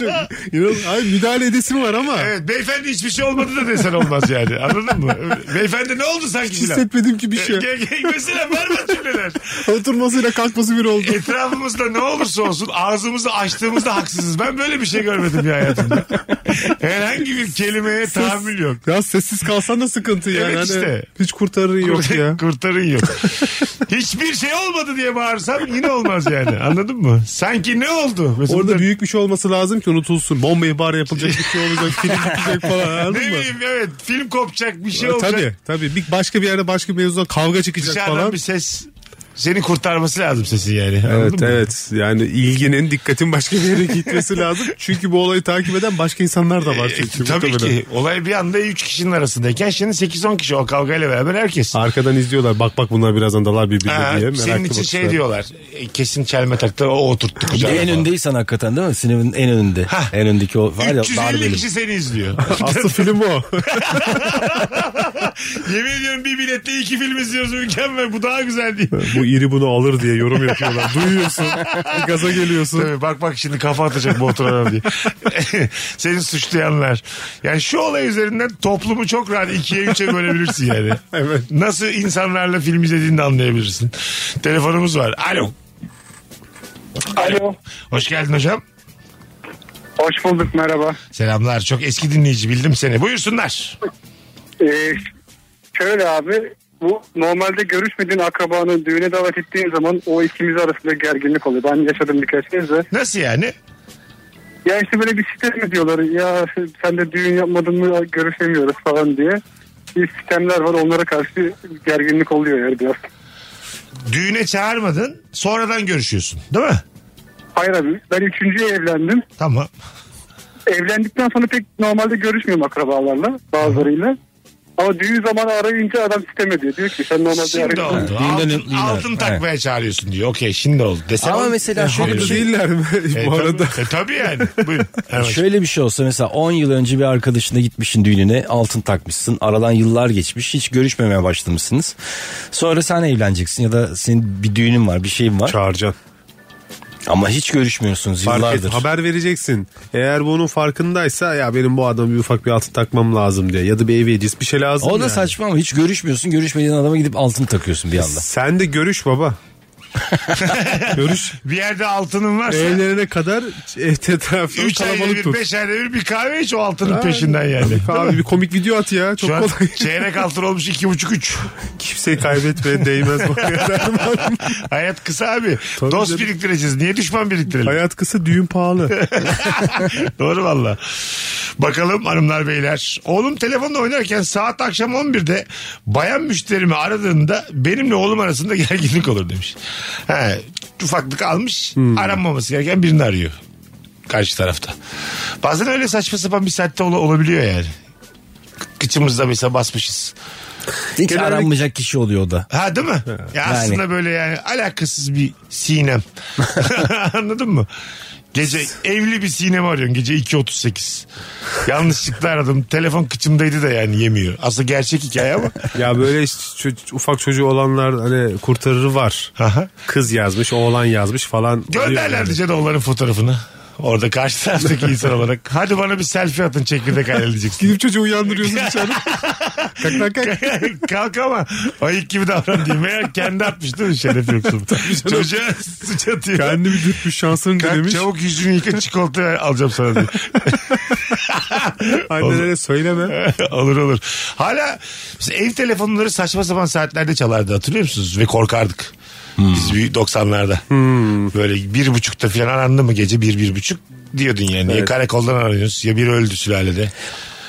Speaker 8: Çok- İnanın, ay müdahale edesim var ama.
Speaker 3: evet beyefendi hiçbir şey olmadı da desen olmaz yani. Anladın mı? Beyefendi ne oldu sanki?
Speaker 8: Hiç
Speaker 3: filan?
Speaker 8: hissetmedim ki bir şey.
Speaker 3: Ge- ge- Mesela berbat cümleler.
Speaker 8: Oturmasıyla kalkması bir oldu.
Speaker 3: Etrafımızda ne olursa olsun ağzımızı açtığımızda haksızız. Ben böyle bir şey görmedim ya hayatımda. Herhangi bir kelimeye tahammül yok.
Speaker 8: Ya sessiz kalsan da sıkıntı yani.
Speaker 3: Evet
Speaker 8: Hani
Speaker 3: işte.
Speaker 8: hiç kurtarır yok ya.
Speaker 3: Kurtarın yok. Hiçbir şey olmadı diye bağırsam yine olmaz yani. Anladın mı? Sanki ne oldu? Mesela
Speaker 8: Orada
Speaker 3: bir-
Speaker 8: büyük bir şey olması lazım ki unutulsun. Bomba ihbarı yapılacak bir şey olacak. Film bitecek falan
Speaker 3: ne
Speaker 8: anladın mı?
Speaker 3: bileyim evet film kopacak bir şey olacak.
Speaker 8: E, Tabii tabii. Bir başka bir yerde başka bir mevzudan kavga çıkacak
Speaker 3: Dışarıdan
Speaker 8: falan.
Speaker 3: bir ses seni kurtarması lazım sesi yani.
Speaker 8: Evet evet yani ilginin dikkatin başka bir yere gitmesi lazım. Çünkü bu olayı takip eden başka insanlar da var. Çünkü
Speaker 3: E, tabii
Speaker 8: muhtemelen.
Speaker 3: ki. Olay bir anda 3 kişinin arasındayken şimdi 8-10 kişi o kavgayla beraber herkes.
Speaker 8: Arkadan izliyorlar bak bak bunlar birazdan dalar birbirine
Speaker 3: Ha,
Speaker 8: diye.
Speaker 3: senin
Speaker 8: meraklı
Speaker 3: için şey
Speaker 8: bakışlar.
Speaker 3: diyorlar. e, Kesin çelme taktı o oturttu.
Speaker 4: Bir de
Speaker 3: kucağına
Speaker 4: en
Speaker 3: falan.
Speaker 4: öndeysen hakikaten değil mi? Sinemin en önünde.
Speaker 3: Hah.
Speaker 4: En öndeki o var ya
Speaker 3: 350
Speaker 4: darbeli.
Speaker 3: kişi seni izliyor.
Speaker 8: Aslı film o.
Speaker 3: Yemin ediyorum bir biletle iki film izliyoruz mükemmel. Bu daha güzel değil.
Speaker 8: bu iri bunu alır diye yorum yapıyorlar. Duyuyorsun. bir Gaza geliyorsun.
Speaker 3: Tabii bak bak şimdi kafa atacak bu oturan diye. Seni suçlayanlar. Yani şu olay üzerinden toplumu çok rahat ikiye üçe bölebilirsin yani.
Speaker 8: Evet.
Speaker 3: Nasıl insanlarla film izlediğini de anlayabilirsin. Telefonumuz var. Alo.
Speaker 12: Alo.
Speaker 3: Hoş geldin hocam.
Speaker 12: Hoş bulduk merhaba.
Speaker 3: Selamlar. Çok eski dinleyici bildim seni. Buyursunlar.
Speaker 12: Ee, şöyle abi bu normalde görüşmediğin akrabanın düğüne davet ettiğin zaman o ikimiz arasında gerginlik oluyor. Ben yaşadım birkaç kez de.
Speaker 3: Nasıl yani?
Speaker 12: Ya işte böyle bir sistem diyorlar. Ya sen de düğün yapmadın mı görüşemiyoruz falan diye. Bir sistemler var onlara karşı gerginlik oluyor yani biraz.
Speaker 3: Düğüne çağırmadın. Sonradan görüşüyorsun. Değil mi?
Speaker 12: Hayır abi ben üçüncüye evlendim.
Speaker 3: Tamam.
Speaker 12: Evlendikten sonra pek normalde görüşmüyorum akrabalarla bazılarıyla. Ama düğün zamanı arayınca adam sistem ediyor. Diyor ki sen normalde
Speaker 3: Şimdi
Speaker 12: arayınca-
Speaker 3: oldu.
Speaker 4: Düğünden
Speaker 3: Altın,
Speaker 4: öptüler.
Speaker 3: altın takmaya çağırıyorsun diyor. Okey şimdi oldu. Desem
Speaker 4: Ama mesela şöyle
Speaker 3: Hayır.
Speaker 4: bir
Speaker 8: Haklı
Speaker 4: şey,
Speaker 8: değiller mi
Speaker 3: E,
Speaker 8: bu arada?
Speaker 3: Tabii, e, tabii yani. Buyurun. Evet.
Speaker 4: şöyle bir şey olsa mesela 10 yıl önce bir arkadaşına gitmişsin düğününe altın takmışsın. Aradan yıllar geçmiş hiç görüşmemeye başlamışsınız. Sonra sen evleneceksin ya da senin bir düğünün var bir şeyin var.
Speaker 8: Çağıracaksın.
Speaker 4: Ama hiç görüşmüyorsunuz
Speaker 8: Fark et,
Speaker 4: yıllardır.
Speaker 8: haber vereceksin. Eğer bunun farkındaysa ya benim bu adamı bir ufak bir altın takmam lazım diye. Ya da bir ev hediyesi bir şey lazım
Speaker 4: O da
Speaker 8: yani.
Speaker 4: saçma ama hiç görüşmüyorsun. Görüşmediğin adama gidip altın takıyorsun bir anda.
Speaker 8: Sen de görüş baba. görüş.
Speaker 3: Bir yerde altının varsa.
Speaker 8: Evlerine kadar etrafı
Speaker 3: Üç ayda
Speaker 8: kalabalık
Speaker 3: bir,
Speaker 8: tut.
Speaker 3: beş ayda bir bir kahve iç o altının peşinden yani.
Speaker 8: Abi bir komik video at ya. Çok
Speaker 3: Şu an şey-
Speaker 8: kolay.
Speaker 3: çeyrek altın olmuş iki buçuk üç.
Speaker 8: Kimseyi kaybetmeye değmez. bu hayatlar.
Speaker 3: Hayat kısa abi.
Speaker 8: Tabii
Speaker 3: Dost
Speaker 8: canım.
Speaker 3: biriktireceğiz. Niye düşman biriktirelim?
Speaker 8: Hayat kısa düğün pahalı.
Speaker 3: Doğru valla. Bakalım hanımlar beyler. Oğlum telefonla oynarken saat akşam 11'de bayan müşterimi aradığında benimle oğlum arasında gerginlik olur demiş. He, ufaklık almış aranmaması gereken birini arıyor. Karşı tarafta. Bazen öyle saçma sapan bir saatte ola- olabiliyor yani. Kı- Kıçımızda mesela basmışız.
Speaker 4: Hiç aranmayacak kişi oluyor o da.
Speaker 3: Ha değil mi? Ya
Speaker 4: Yani.
Speaker 3: aslında böyle yani alakasız bir sinem. Anladın mı? Gece evli bir sinem arıyorsun gece 2.38. Yanlışlıkla aradım. Telefon kıçımdaydı da yani yemiyor. Aslında gerçek hikaye ama.
Speaker 8: ya böyle işte ço- ufak çocuğu olanlar hani kurtarırı var.
Speaker 3: Aha.
Speaker 8: Kız yazmış, oğlan yazmış falan. oluyor
Speaker 3: Gönderler
Speaker 8: yani.
Speaker 3: diyeceksin onların fotoğrafını. Orada karşı taraftaki insan olarak. Hadi bana bir selfie atın çekirdek hayal diyeceksin.
Speaker 8: Gidip çocuğu uyandırıyorsun dışarı. kalk kalk kalk.
Speaker 3: Kalk ama ayık gibi davran diye. Meğer kendi atmış değil mi şeref yoksun. Çocuğa suç atıyor.
Speaker 8: Kendini bir dürtmüş şansını
Speaker 3: Kalk
Speaker 8: denemiş.
Speaker 3: çabuk yüzünü yıka çikolata alacağım sana diye.
Speaker 8: Annelere söyleme.
Speaker 3: olur olur. Hala biz ev telefonları saçma sapan saatlerde çalardı hatırlıyor musunuz? Ve korkardık. Biz bir 90'larda.
Speaker 8: Hmm.
Speaker 3: Böyle bir buçukta falan arandı mı gece bir bir buçuk diyordun yani. Ya karakoldan aranıyoruz ya bir öldü sülalede.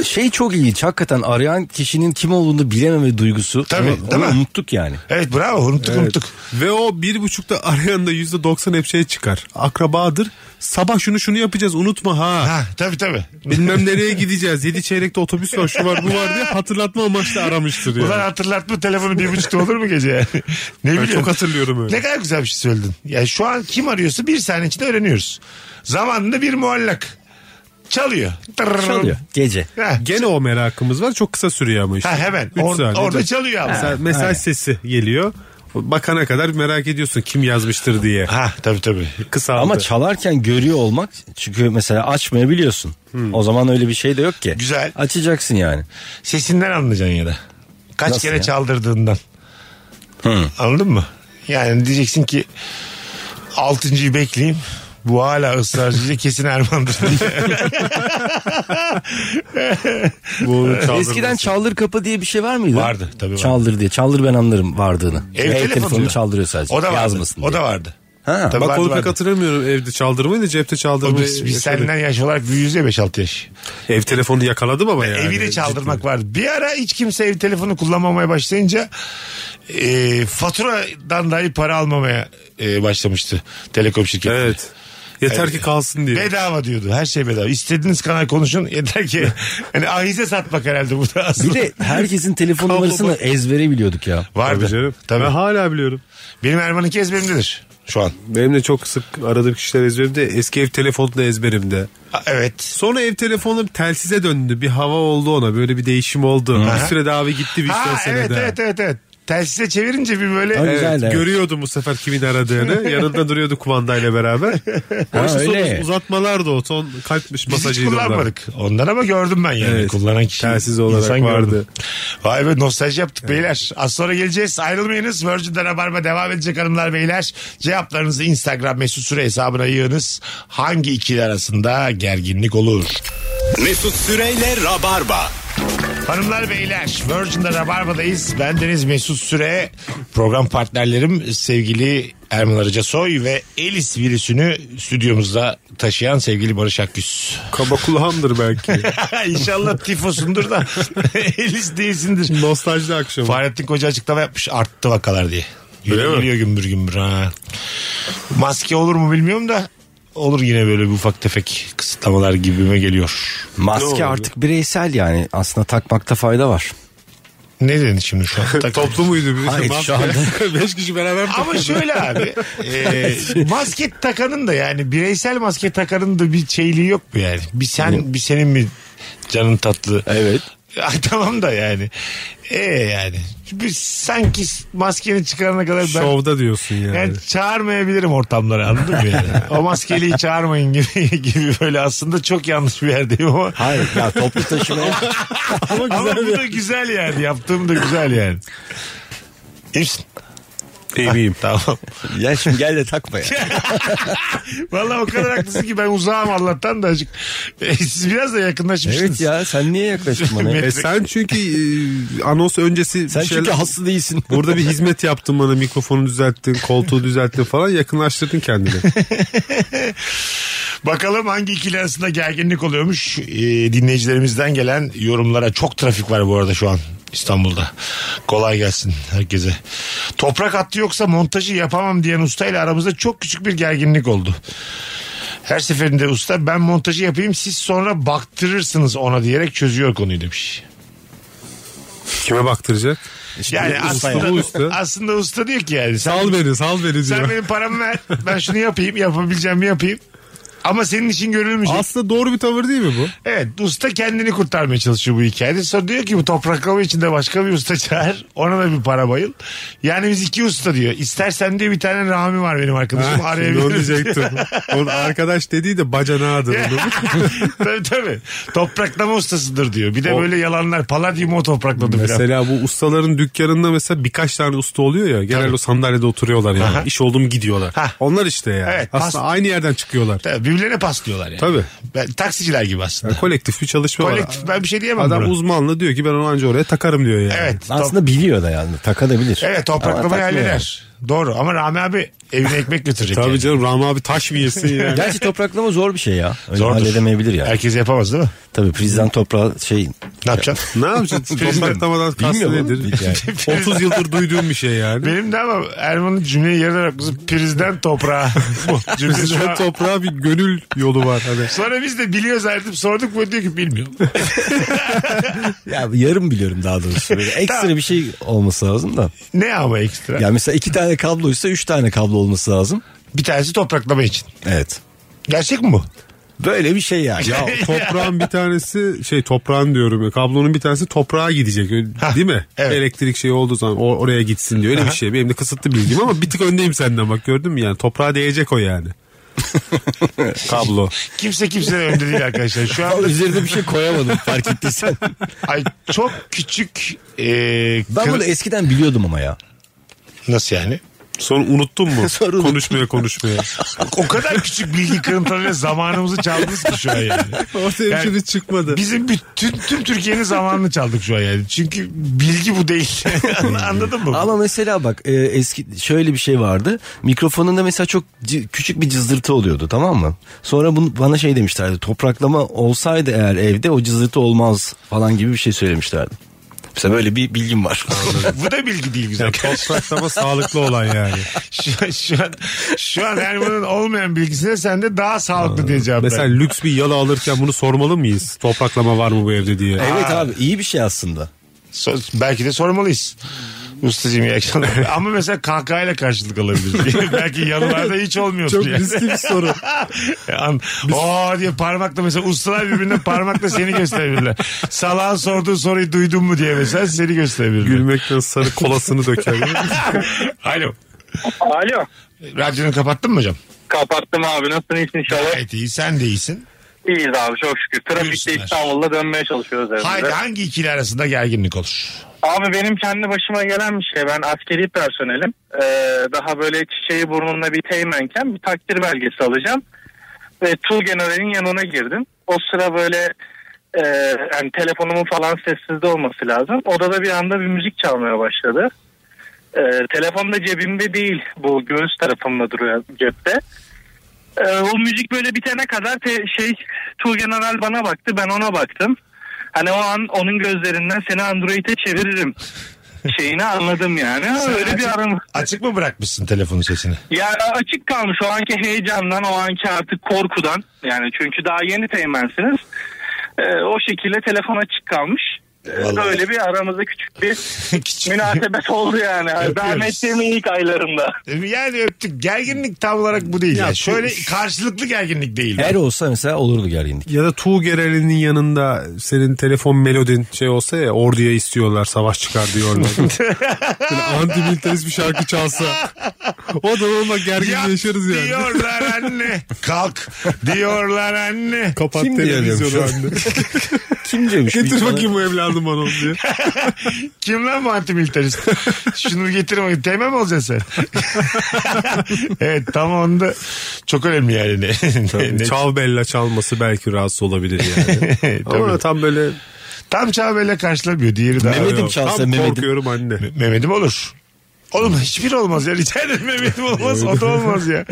Speaker 4: Şey çok ilginç. Hakikaten arayan kişinin kim olduğunu bilememe duygusu.
Speaker 3: Tabii,
Speaker 4: Onu-
Speaker 3: değil
Speaker 4: onu
Speaker 3: mi?
Speaker 4: unuttuk yani.
Speaker 3: Evet bravo unuttuk unuttuk.
Speaker 8: Ve o bir buçukta arayan da yüzde doksan hep şey çıkar. Akrabadır. Sabah şunu şunu yapacağız unutma ha.
Speaker 3: Ha tabii tabii.
Speaker 8: Bilmem nereye gideceğiz. Yedi çeyrekte otobüs var şu var bu var diye hatırlatma amaçlı aramıştır yani.
Speaker 3: Ulan hatırlatma telefonu bir buçukta olur mu gece yani?
Speaker 8: Ben
Speaker 3: Ne bileyim.
Speaker 8: çok hatırlıyorum öyle.
Speaker 3: Ne kadar güzel bir şey söyledin. Yani şu an kim arıyorsa bir saniye içinde öğreniyoruz. Zamanında bir muallak. Çalıyor. Tırrrr.
Speaker 4: Çalıyor. Gece.
Speaker 3: Ha,
Speaker 8: Gene o merakımız var. Çok kısa sürüyor ama işte.
Speaker 3: Ha hemen.
Speaker 8: Üç
Speaker 3: Or-
Speaker 8: saniyede.
Speaker 3: orada çalıyor ama.
Speaker 8: Mesela mesaj sesi geliyor. Bakana kadar merak ediyorsun kim yazmıştır diye.
Speaker 3: Ha tabii tabii.
Speaker 8: Kısaldı.
Speaker 4: Ama çalarken görüyor olmak çünkü mesela açmayabiliyorsun. O zaman öyle bir şey de yok ki.
Speaker 3: Güzel.
Speaker 4: Açacaksın yani.
Speaker 3: Sesinden anlayacaksın ya da. Kaç
Speaker 4: Nasıl
Speaker 3: kere
Speaker 4: ya?
Speaker 3: çaldırdığından.
Speaker 4: Hı.
Speaker 3: Anladın mı? Yani diyeceksin ki altıncıyı bekleyeyim. Bu hala ısrarcıysa kesin Erman'dır diye.
Speaker 8: Bu çaldırması.
Speaker 4: Eskiden çaldır kapı diye bir şey var mıydı?
Speaker 3: Vardı, tabii vardı.
Speaker 4: Çaldır diye. Çaldır ben anlarım vardığını.
Speaker 3: Ev telefonunda.
Speaker 4: çaldırıyor sadece.
Speaker 3: o da vardı.
Speaker 4: Yazmasın
Speaker 3: O
Speaker 4: diye.
Speaker 3: da vardı.
Speaker 4: Ha,
Speaker 3: Tabii
Speaker 8: Bak
Speaker 3: vardı,
Speaker 8: onu pek
Speaker 3: vardı.
Speaker 8: hatırlamıyorum evde çaldırmayı da şey cepte
Speaker 3: O
Speaker 8: çaldırmayı.
Speaker 3: Biz, biz
Speaker 8: yaşadık.
Speaker 3: senden yaş olarak büyüğüz ya 5-6 yaş.
Speaker 8: Ev telefonu yakaladı baba yani.
Speaker 3: Evi de çaldırmak vardı. Bir ara hiç kimse ev telefonu kullanmamaya başlayınca e, faturadan dahi para almamaya e, başlamıştı telekom şirketi.
Speaker 8: Evet. Yeter ki kalsın diye.
Speaker 3: Bedava diyordu. Her şey bedava. İstediğiniz kanal konuşun yeter ki. hani ahize satmak herhalde bu da aslında.
Speaker 4: Bir de herkesin telefon numarasını ezbere biliyorduk ya.
Speaker 3: vardı.
Speaker 8: Tabii
Speaker 3: Tabii,
Speaker 8: canım. Ben hala biliyorum.
Speaker 3: Benim Erman'ınki ezberimdedir şu an.
Speaker 8: Benim de çok sık aradığım kişiler ezberimde. Eski ev telefonu da ezberimde.
Speaker 3: A- Evet.
Speaker 8: Sonra ev telefonu telsize döndü. Bir hava oldu ona. Böyle bir değişim oldu. Bir süre daha ve gitti bir
Speaker 3: Ha,
Speaker 8: işte
Speaker 3: evet,
Speaker 8: senede.
Speaker 3: evet evet evet. Telsize çevirince bir böyle
Speaker 4: Ay, Güzel de, evet.
Speaker 8: Görüyordum bu sefer kimin aradığını. Yanında duruyordu kumandayla beraber.
Speaker 4: Ha,
Speaker 8: Başta
Speaker 4: öyle.
Speaker 8: sonra uzatmalar da o ton kalpmiş
Speaker 3: Biz hiç
Speaker 8: masajıydı. onlar.
Speaker 3: kullanmadık. Ondan ama gördüm ben yani.
Speaker 8: Evet.
Speaker 3: Kullanan kişi.
Speaker 8: Telsiz olarak
Speaker 3: insan
Speaker 8: vardı.
Speaker 3: gördüm. Vay be nostalji yaptık beyler. Az sonra geleceğiz. Ayrılmayınız. Virgin'de Rabarba devam edecek hanımlar beyler. Cevaplarınızı Instagram mesut süre hesabına yığınız. Hangi ikili arasında gerginlik olur?
Speaker 2: Mesut Süreyle Rabarba.
Speaker 3: Hanımlar beyler Virgin'de Rabarba'dayız. Ben Deniz Mesut Süre. Program partnerlerim sevgili Erman Arıca Soy ve Elis virüsünü stüdyomuzda taşıyan sevgili Barış Akgüs.
Speaker 8: Kaba kulağımdır belki.
Speaker 3: İnşallah tifosundur da Elis değilsindir.
Speaker 8: Nostalji akşamı.
Speaker 3: Fahrettin Koca açıklama yapmış arttı vakalar diye. Yürü,
Speaker 8: mi?
Speaker 3: yürüyor gümbür gümbür ha. Maske olur mu bilmiyorum da olur yine böyle bir ufak tefek kısıtlamalar gibime geliyor.
Speaker 4: Maske artık bireysel yani. Aslında takmakta fayda var.
Speaker 3: Ne dedin şimdi şu an? Tak-
Speaker 8: Toplu muydu? Bir şey
Speaker 4: Hayır,
Speaker 8: Maske-
Speaker 4: şu anda-
Speaker 8: Beş kişi beraber
Speaker 3: Ama şöyle abi e, maske takanın da yani bireysel maske takanın da bir şeyliği yok mu yani? Bir sen bir senin mi canın tatlı?
Speaker 4: Evet.
Speaker 3: Ay, tamam da yani. E yani. Bir, sanki maskeni çıkarana kadar ben
Speaker 8: Şovda diyorsun yani.
Speaker 3: Yani çağırmayabilirim ortamlara anladın mı yani? o maskeliyi çağırmayın gibi, gibi böyle aslında çok yanlış bir yerdeyim ama.
Speaker 4: Hayır ya toplu taşımaya
Speaker 3: ama bu da güzel yani yaptığım da güzel yani. İyi misin?
Speaker 8: İyiyim.
Speaker 3: Tamam.
Speaker 4: ya şimdi gel de takma ya.
Speaker 3: Valla o kadar haklısın ki ben uzağım Allah'tan da azıcık. E, siz biraz da yakınlaşmışsınız.
Speaker 4: Evet ya sen niye yaklaştın bana?
Speaker 8: E sen çünkü e, anons öncesi
Speaker 4: sen
Speaker 8: bir
Speaker 6: şey-
Speaker 8: şeyler-
Speaker 4: çünkü hasta değilsin.
Speaker 8: Burada bir hizmet yaptın bana mikrofonu düzelttin, koltuğu düzelttin falan yakınlaştırdın kendini.
Speaker 3: Bakalım hangi ikili arasında gerginlik oluyormuş. E, dinleyicilerimizden gelen yorumlara çok trafik var bu arada şu an İstanbul'da. Kolay gelsin herkese. Toprak attı yoksa montajı yapamam diyen ustayla aramızda çok küçük bir gerginlik oldu. Her seferinde usta ben montajı yapayım siz sonra baktırırsınız ona diyerek çözüyor konuyu demiş.
Speaker 8: Kime baktıracak?
Speaker 3: Yani
Speaker 8: usta
Speaker 3: aslında,
Speaker 8: ya. Usta.
Speaker 3: aslında usta diyor ki yani sen,
Speaker 8: Sal beni, sal beni
Speaker 3: sen
Speaker 8: diyor.
Speaker 3: benim paramı ver ben şunu yapayım yapabileceğimi yapayım. Ama senin için görülmeyecek.
Speaker 8: Aslında doğru bir tavır değil mi bu?
Speaker 3: Evet usta kendini kurtarmaya çalışıyor bu hikayede. Sonra diyor ki bu topraklama içinde başka bir usta çağır. Ona da bir para bayıl. Yani biz iki usta diyor. İstersen diyor bir tane Rami var benim arkadaşım.
Speaker 8: Ha, şimdi onu
Speaker 3: Arayabiliriz.
Speaker 8: diyecektim. Onun arkadaş dediği de bacanağıdır. onun.
Speaker 3: tabii tabii. Topraklama ustasıdır diyor. Bir de böyle yalanlar. Palladium o toprakladı falan.
Speaker 8: Mesela bu ustaların dükkanında mesela birkaç tane usta oluyor ya. Genelde o sandalyede oturuyorlar yani.
Speaker 3: Aha.
Speaker 8: İş oldu mu gidiyorlar.
Speaker 3: Ha.
Speaker 8: Onlar işte yani.
Speaker 3: Evet,
Speaker 8: aslında
Speaker 3: past-
Speaker 8: aynı yerden çıkıyorlar.
Speaker 3: Tabii, birbirlerine paslıyorlar yani.
Speaker 8: Tabii.
Speaker 3: Ben, taksiciler gibi aslında.
Speaker 8: Yani kolektif bir çalışma var.
Speaker 3: Kolektif ben bir şey diyemem.
Speaker 8: Adam
Speaker 3: buna.
Speaker 8: uzmanlı diyor ki ben onu anca oraya takarım diyor yani.
Speaker 3: Evet. top-
Speaker 4: Aslında biliyor da yani takabilir.
Speaker 3: Evet
Speaker 4: Ama
Speaker 3: topraklamayı
Speaker 4: takmıyor yani.
Speaker 3: halleder. Doğru ama Rami abi evine ekmek götürecek.
Speaker 8: Tabii
Speaker 3: yani.
Speaker 8: canım Rami abi taş mı yesin yani?
Speaker 4: Gerçi topraklama zor bir şey ya. Öyle
Speaker 3: Zordur.
Speaker 4: halledemeyebilir yani.
Speaker 3: Herkes yapamaz değil mi?
Speaker 4: Tabii prizden toprağa şey
Speaker 3: Ne yapacaksın?
Speaker 8: Ne yapacaksın?
Speaker 3: Filizden.
Speaker 8: Topraklamadan kastı
Speaker 4: Bilmiyorum.
Speaker 8: nedir?
Speaker 3: Filizden.
Speaker 8: 30 yıldır duyduğum bir şey yani.
Speaker 3: Benim de ama Erman'ın cümleyi yarıda bırakması prizden toprağa. Cümlesi
Speaker 8: Bizden
Speaker 3: şu an-
Speaker 8: toprağa bir gönül yolu var. Hani.
Speaker 3: Sonra biz de biliyoruz artık sorduk mu diyor ki bilmiyorum.
Speaker 4: ya yarım biliyorum daha doğrusu. Böyle ekstra bir şey olması lazım da.
Speaker 3: ne ama ekstra?
Speaker 4: Ya mesela iki tane kabloysa üç tane kablo olması lazım.
Speaker 3: Bir tanesi topraklama için.
Speaker 4: Evet.
Speaker 3: Gerçek mi bu?
Speaker 4: Böyle bir şey yani.
Speaker 8: Ya toprağın bir tanesi şey toprağın diyorum ya kablonun bir tanesi toprağa gidecek öyle- değil mi?
Speaker 3: evet.
Speaker 8: Elektrik şey olduğu zaman o- oraya gitsin diyor öyle bir şey. Benim de kısıtlı bilgim ama bir tık öndeyim senden bak gördün mü yani toprağa değecek o yani. Kablo.
Speaker 3: Kimse kimsenin önünde değil arkadaşlar. Şu an
Speaker 4: Üzerinde bir şey koyamadım fark ettiysen.
Speaker 3: ay, çok küçük e,
Speaker 4: Ben
Speaker 3: kır-
Speaker 4: bunu eskiden biliyordum ama ya.
Speaker 3: nasıl yani?
Speaker 8: Sonra unuttun mu?
Speaker 4: Sonra unuttum.
Speaker 8: konuşmaya konuşmaya.
Speaker 3: O kadar küçük bilgi kırıntılarıyla zamanımızı çaldınız ki şu an yani.
Speaker 8: Ortaya
Speaker 3: Yani
Speaker 8: bir şey çıkmadı.
Speaker 3: Bizim bütün tüm Türkiye'nin zamanını çaldık şu an yani. Çünkü bilgi bu değil. Anladın mı?
Speaker 4: Ama mesela bak e, eski şöyle bir şey vardı. Mikrofonunda mesela çok cı- küçük bir cızırtı oluyordu tamam mı? Sonra bunu, bana şey demişlerdi. Topraklama olsaydı eğer evde o cızırtı olmaz falan gibi bir şey söylemişlerdi. Mesela böyle bir bilgim var.
Speaker 3: bu da bilgi değil güzel.
Speaker 8: Yani topraklama sağlıklı olan yani.
Speaker 3: şu, şu an şu an Erman'ın olmayan bilgisine sen de daha sağlıklı diye cevap
Speaker 8: Mesela
Speaker 3: ver.
Speaker 8: lüks bir yalı alırken bunu sormalı mıyız? Topraklama var mı bu evde diye.
Speaker 4: evet abi iyi bir şey aslında.
Speaker 3: So- belki de sormalıyız. Ustacığım iyi akşamlar. Ama mesela kahkahayla karşılık alabilir. belki yanılarda hiç olmuyor.
Speaker 8: Çok riskli bir soru.
Speaker 3: An, "Oo" diye parmakla mesela ustalar birbirine parmakla seni gösterebilirler. Salağın sorduğu soruyu duydun mu diye mesela seni gösterebilirler.
Speaker 8: Gülmekten sarı kolasını döker.
Speaker 3: Alo.
Speaker 13: Alo.
Speaker 3: Radyonu kapattın mı hocam?
Speaker 13: Kapattım abi nasılsın iyisin inşallah?
Speaker 3: Gayet iyi. Sen de iyisin.
Speaker 13: İyiyiz abi çok şükür. Trafikte
Speaker 3: Buyursunlar.
Speaker 13: İstanbul'da dönmeye çalışıyoruz evimize.
Speaker 3: Haydi hangi ikili arasında gerginlik olur?
Speaker 13: Abi benim kendi başıma gelen bir şey. Ben askeri personelim. Ee, daha böyle çiçeği burnunda bir teğmenken bir takdir belgesi alacağım. Ve Tuğ General'in yanına girdim. O sıra böyle e, yani telefonumun falan sessizde olması lazım. Odada bir anda bir müzik çalmaya başladı. Ee, telefon da cebimde değil. Bu göğüs tarafımda duruyor cepte. Ee, o müzik böyle bitene kadar te- şey Tuğ General bana baktı ben ona baktım. Hani o an onun gözlerinden seni Android'e çeviririm şeyini anladım yani. Öyle bir aram.
Speaker 3: Açık mı bırakmışsın telefon sesini?
Speaker 13: Ya açık kalmış o anki heyecandan o anki artık korkudan. Yani çünkü daha yeni teğmensiniz. Ee, o şekilde telefon açık kalmış. Ee,
Speaker 3: Vallahi.
Speaker 13: Böyle bir aramızda küçük bir
Speaker 3: Küçük.
Speaker 13: münasebet oldu yani. Zahmetliğimin ilk aylarında.
Speaker 3: Yani öptük. Gerginlik tam olarak bu değil.
Speaker 8: Ya
Speaker 3: yani.
Speaker 8: bu-
Speaker 3: Şöyle karşılıklı gerginlik değil.
Speaker 4: Eğer olsa mesela olurdu gerginlik.
Speaker 8: Ya da Tuğ Gerel'in yanında senin telefon melodin şey olsa ya orduya istiyorlar savaş çıkar diyorlar. Böyle anti-militarist bir şarkı çalsa. O da olma gergin
Speaker 3: Yat
Speaker 8: yaşarız yani.
Speaker 3: diyorlar anne. Kalk diyorlar anne.
Speaker 8: Kapat
Speaker 4: Kim diyor
Speaker 8: televizyonu
Speaker 4: diyorum şu
Speaker 8: anne.
Speaker 4: Kim diyormuş?
Speaker 8: Getir bakayım bu evladım bana onu diye.
Speaker 3: Kim lan bu antimilitarist? Şunu getir bakayım. Teğmen mi olacaksın sen? evet tam onda çok önemli yani. Ne- E, ne-
Speaker 8: Çal bella çalması belki rahatsız olabilir yani. Ama
Speaker 3: Tabii.
Speaker 8: tam böyle
Speaker 3: tam Çağbel'le karşılamıyor. Diğeri daha.
Speaker 4: Mehmet'im
Speaker 3: Yok.
Speaker 4: çalsa
Speaker 8: tam
Speaker 4: Mehmet'im.
Speaker 8: korkuyorum anne.
Speaker 3: Mehmet'im olur. Oğlum hiçbir olmaz ya. Rica ederim Mehmet'im olmaz. O da olmaz ya.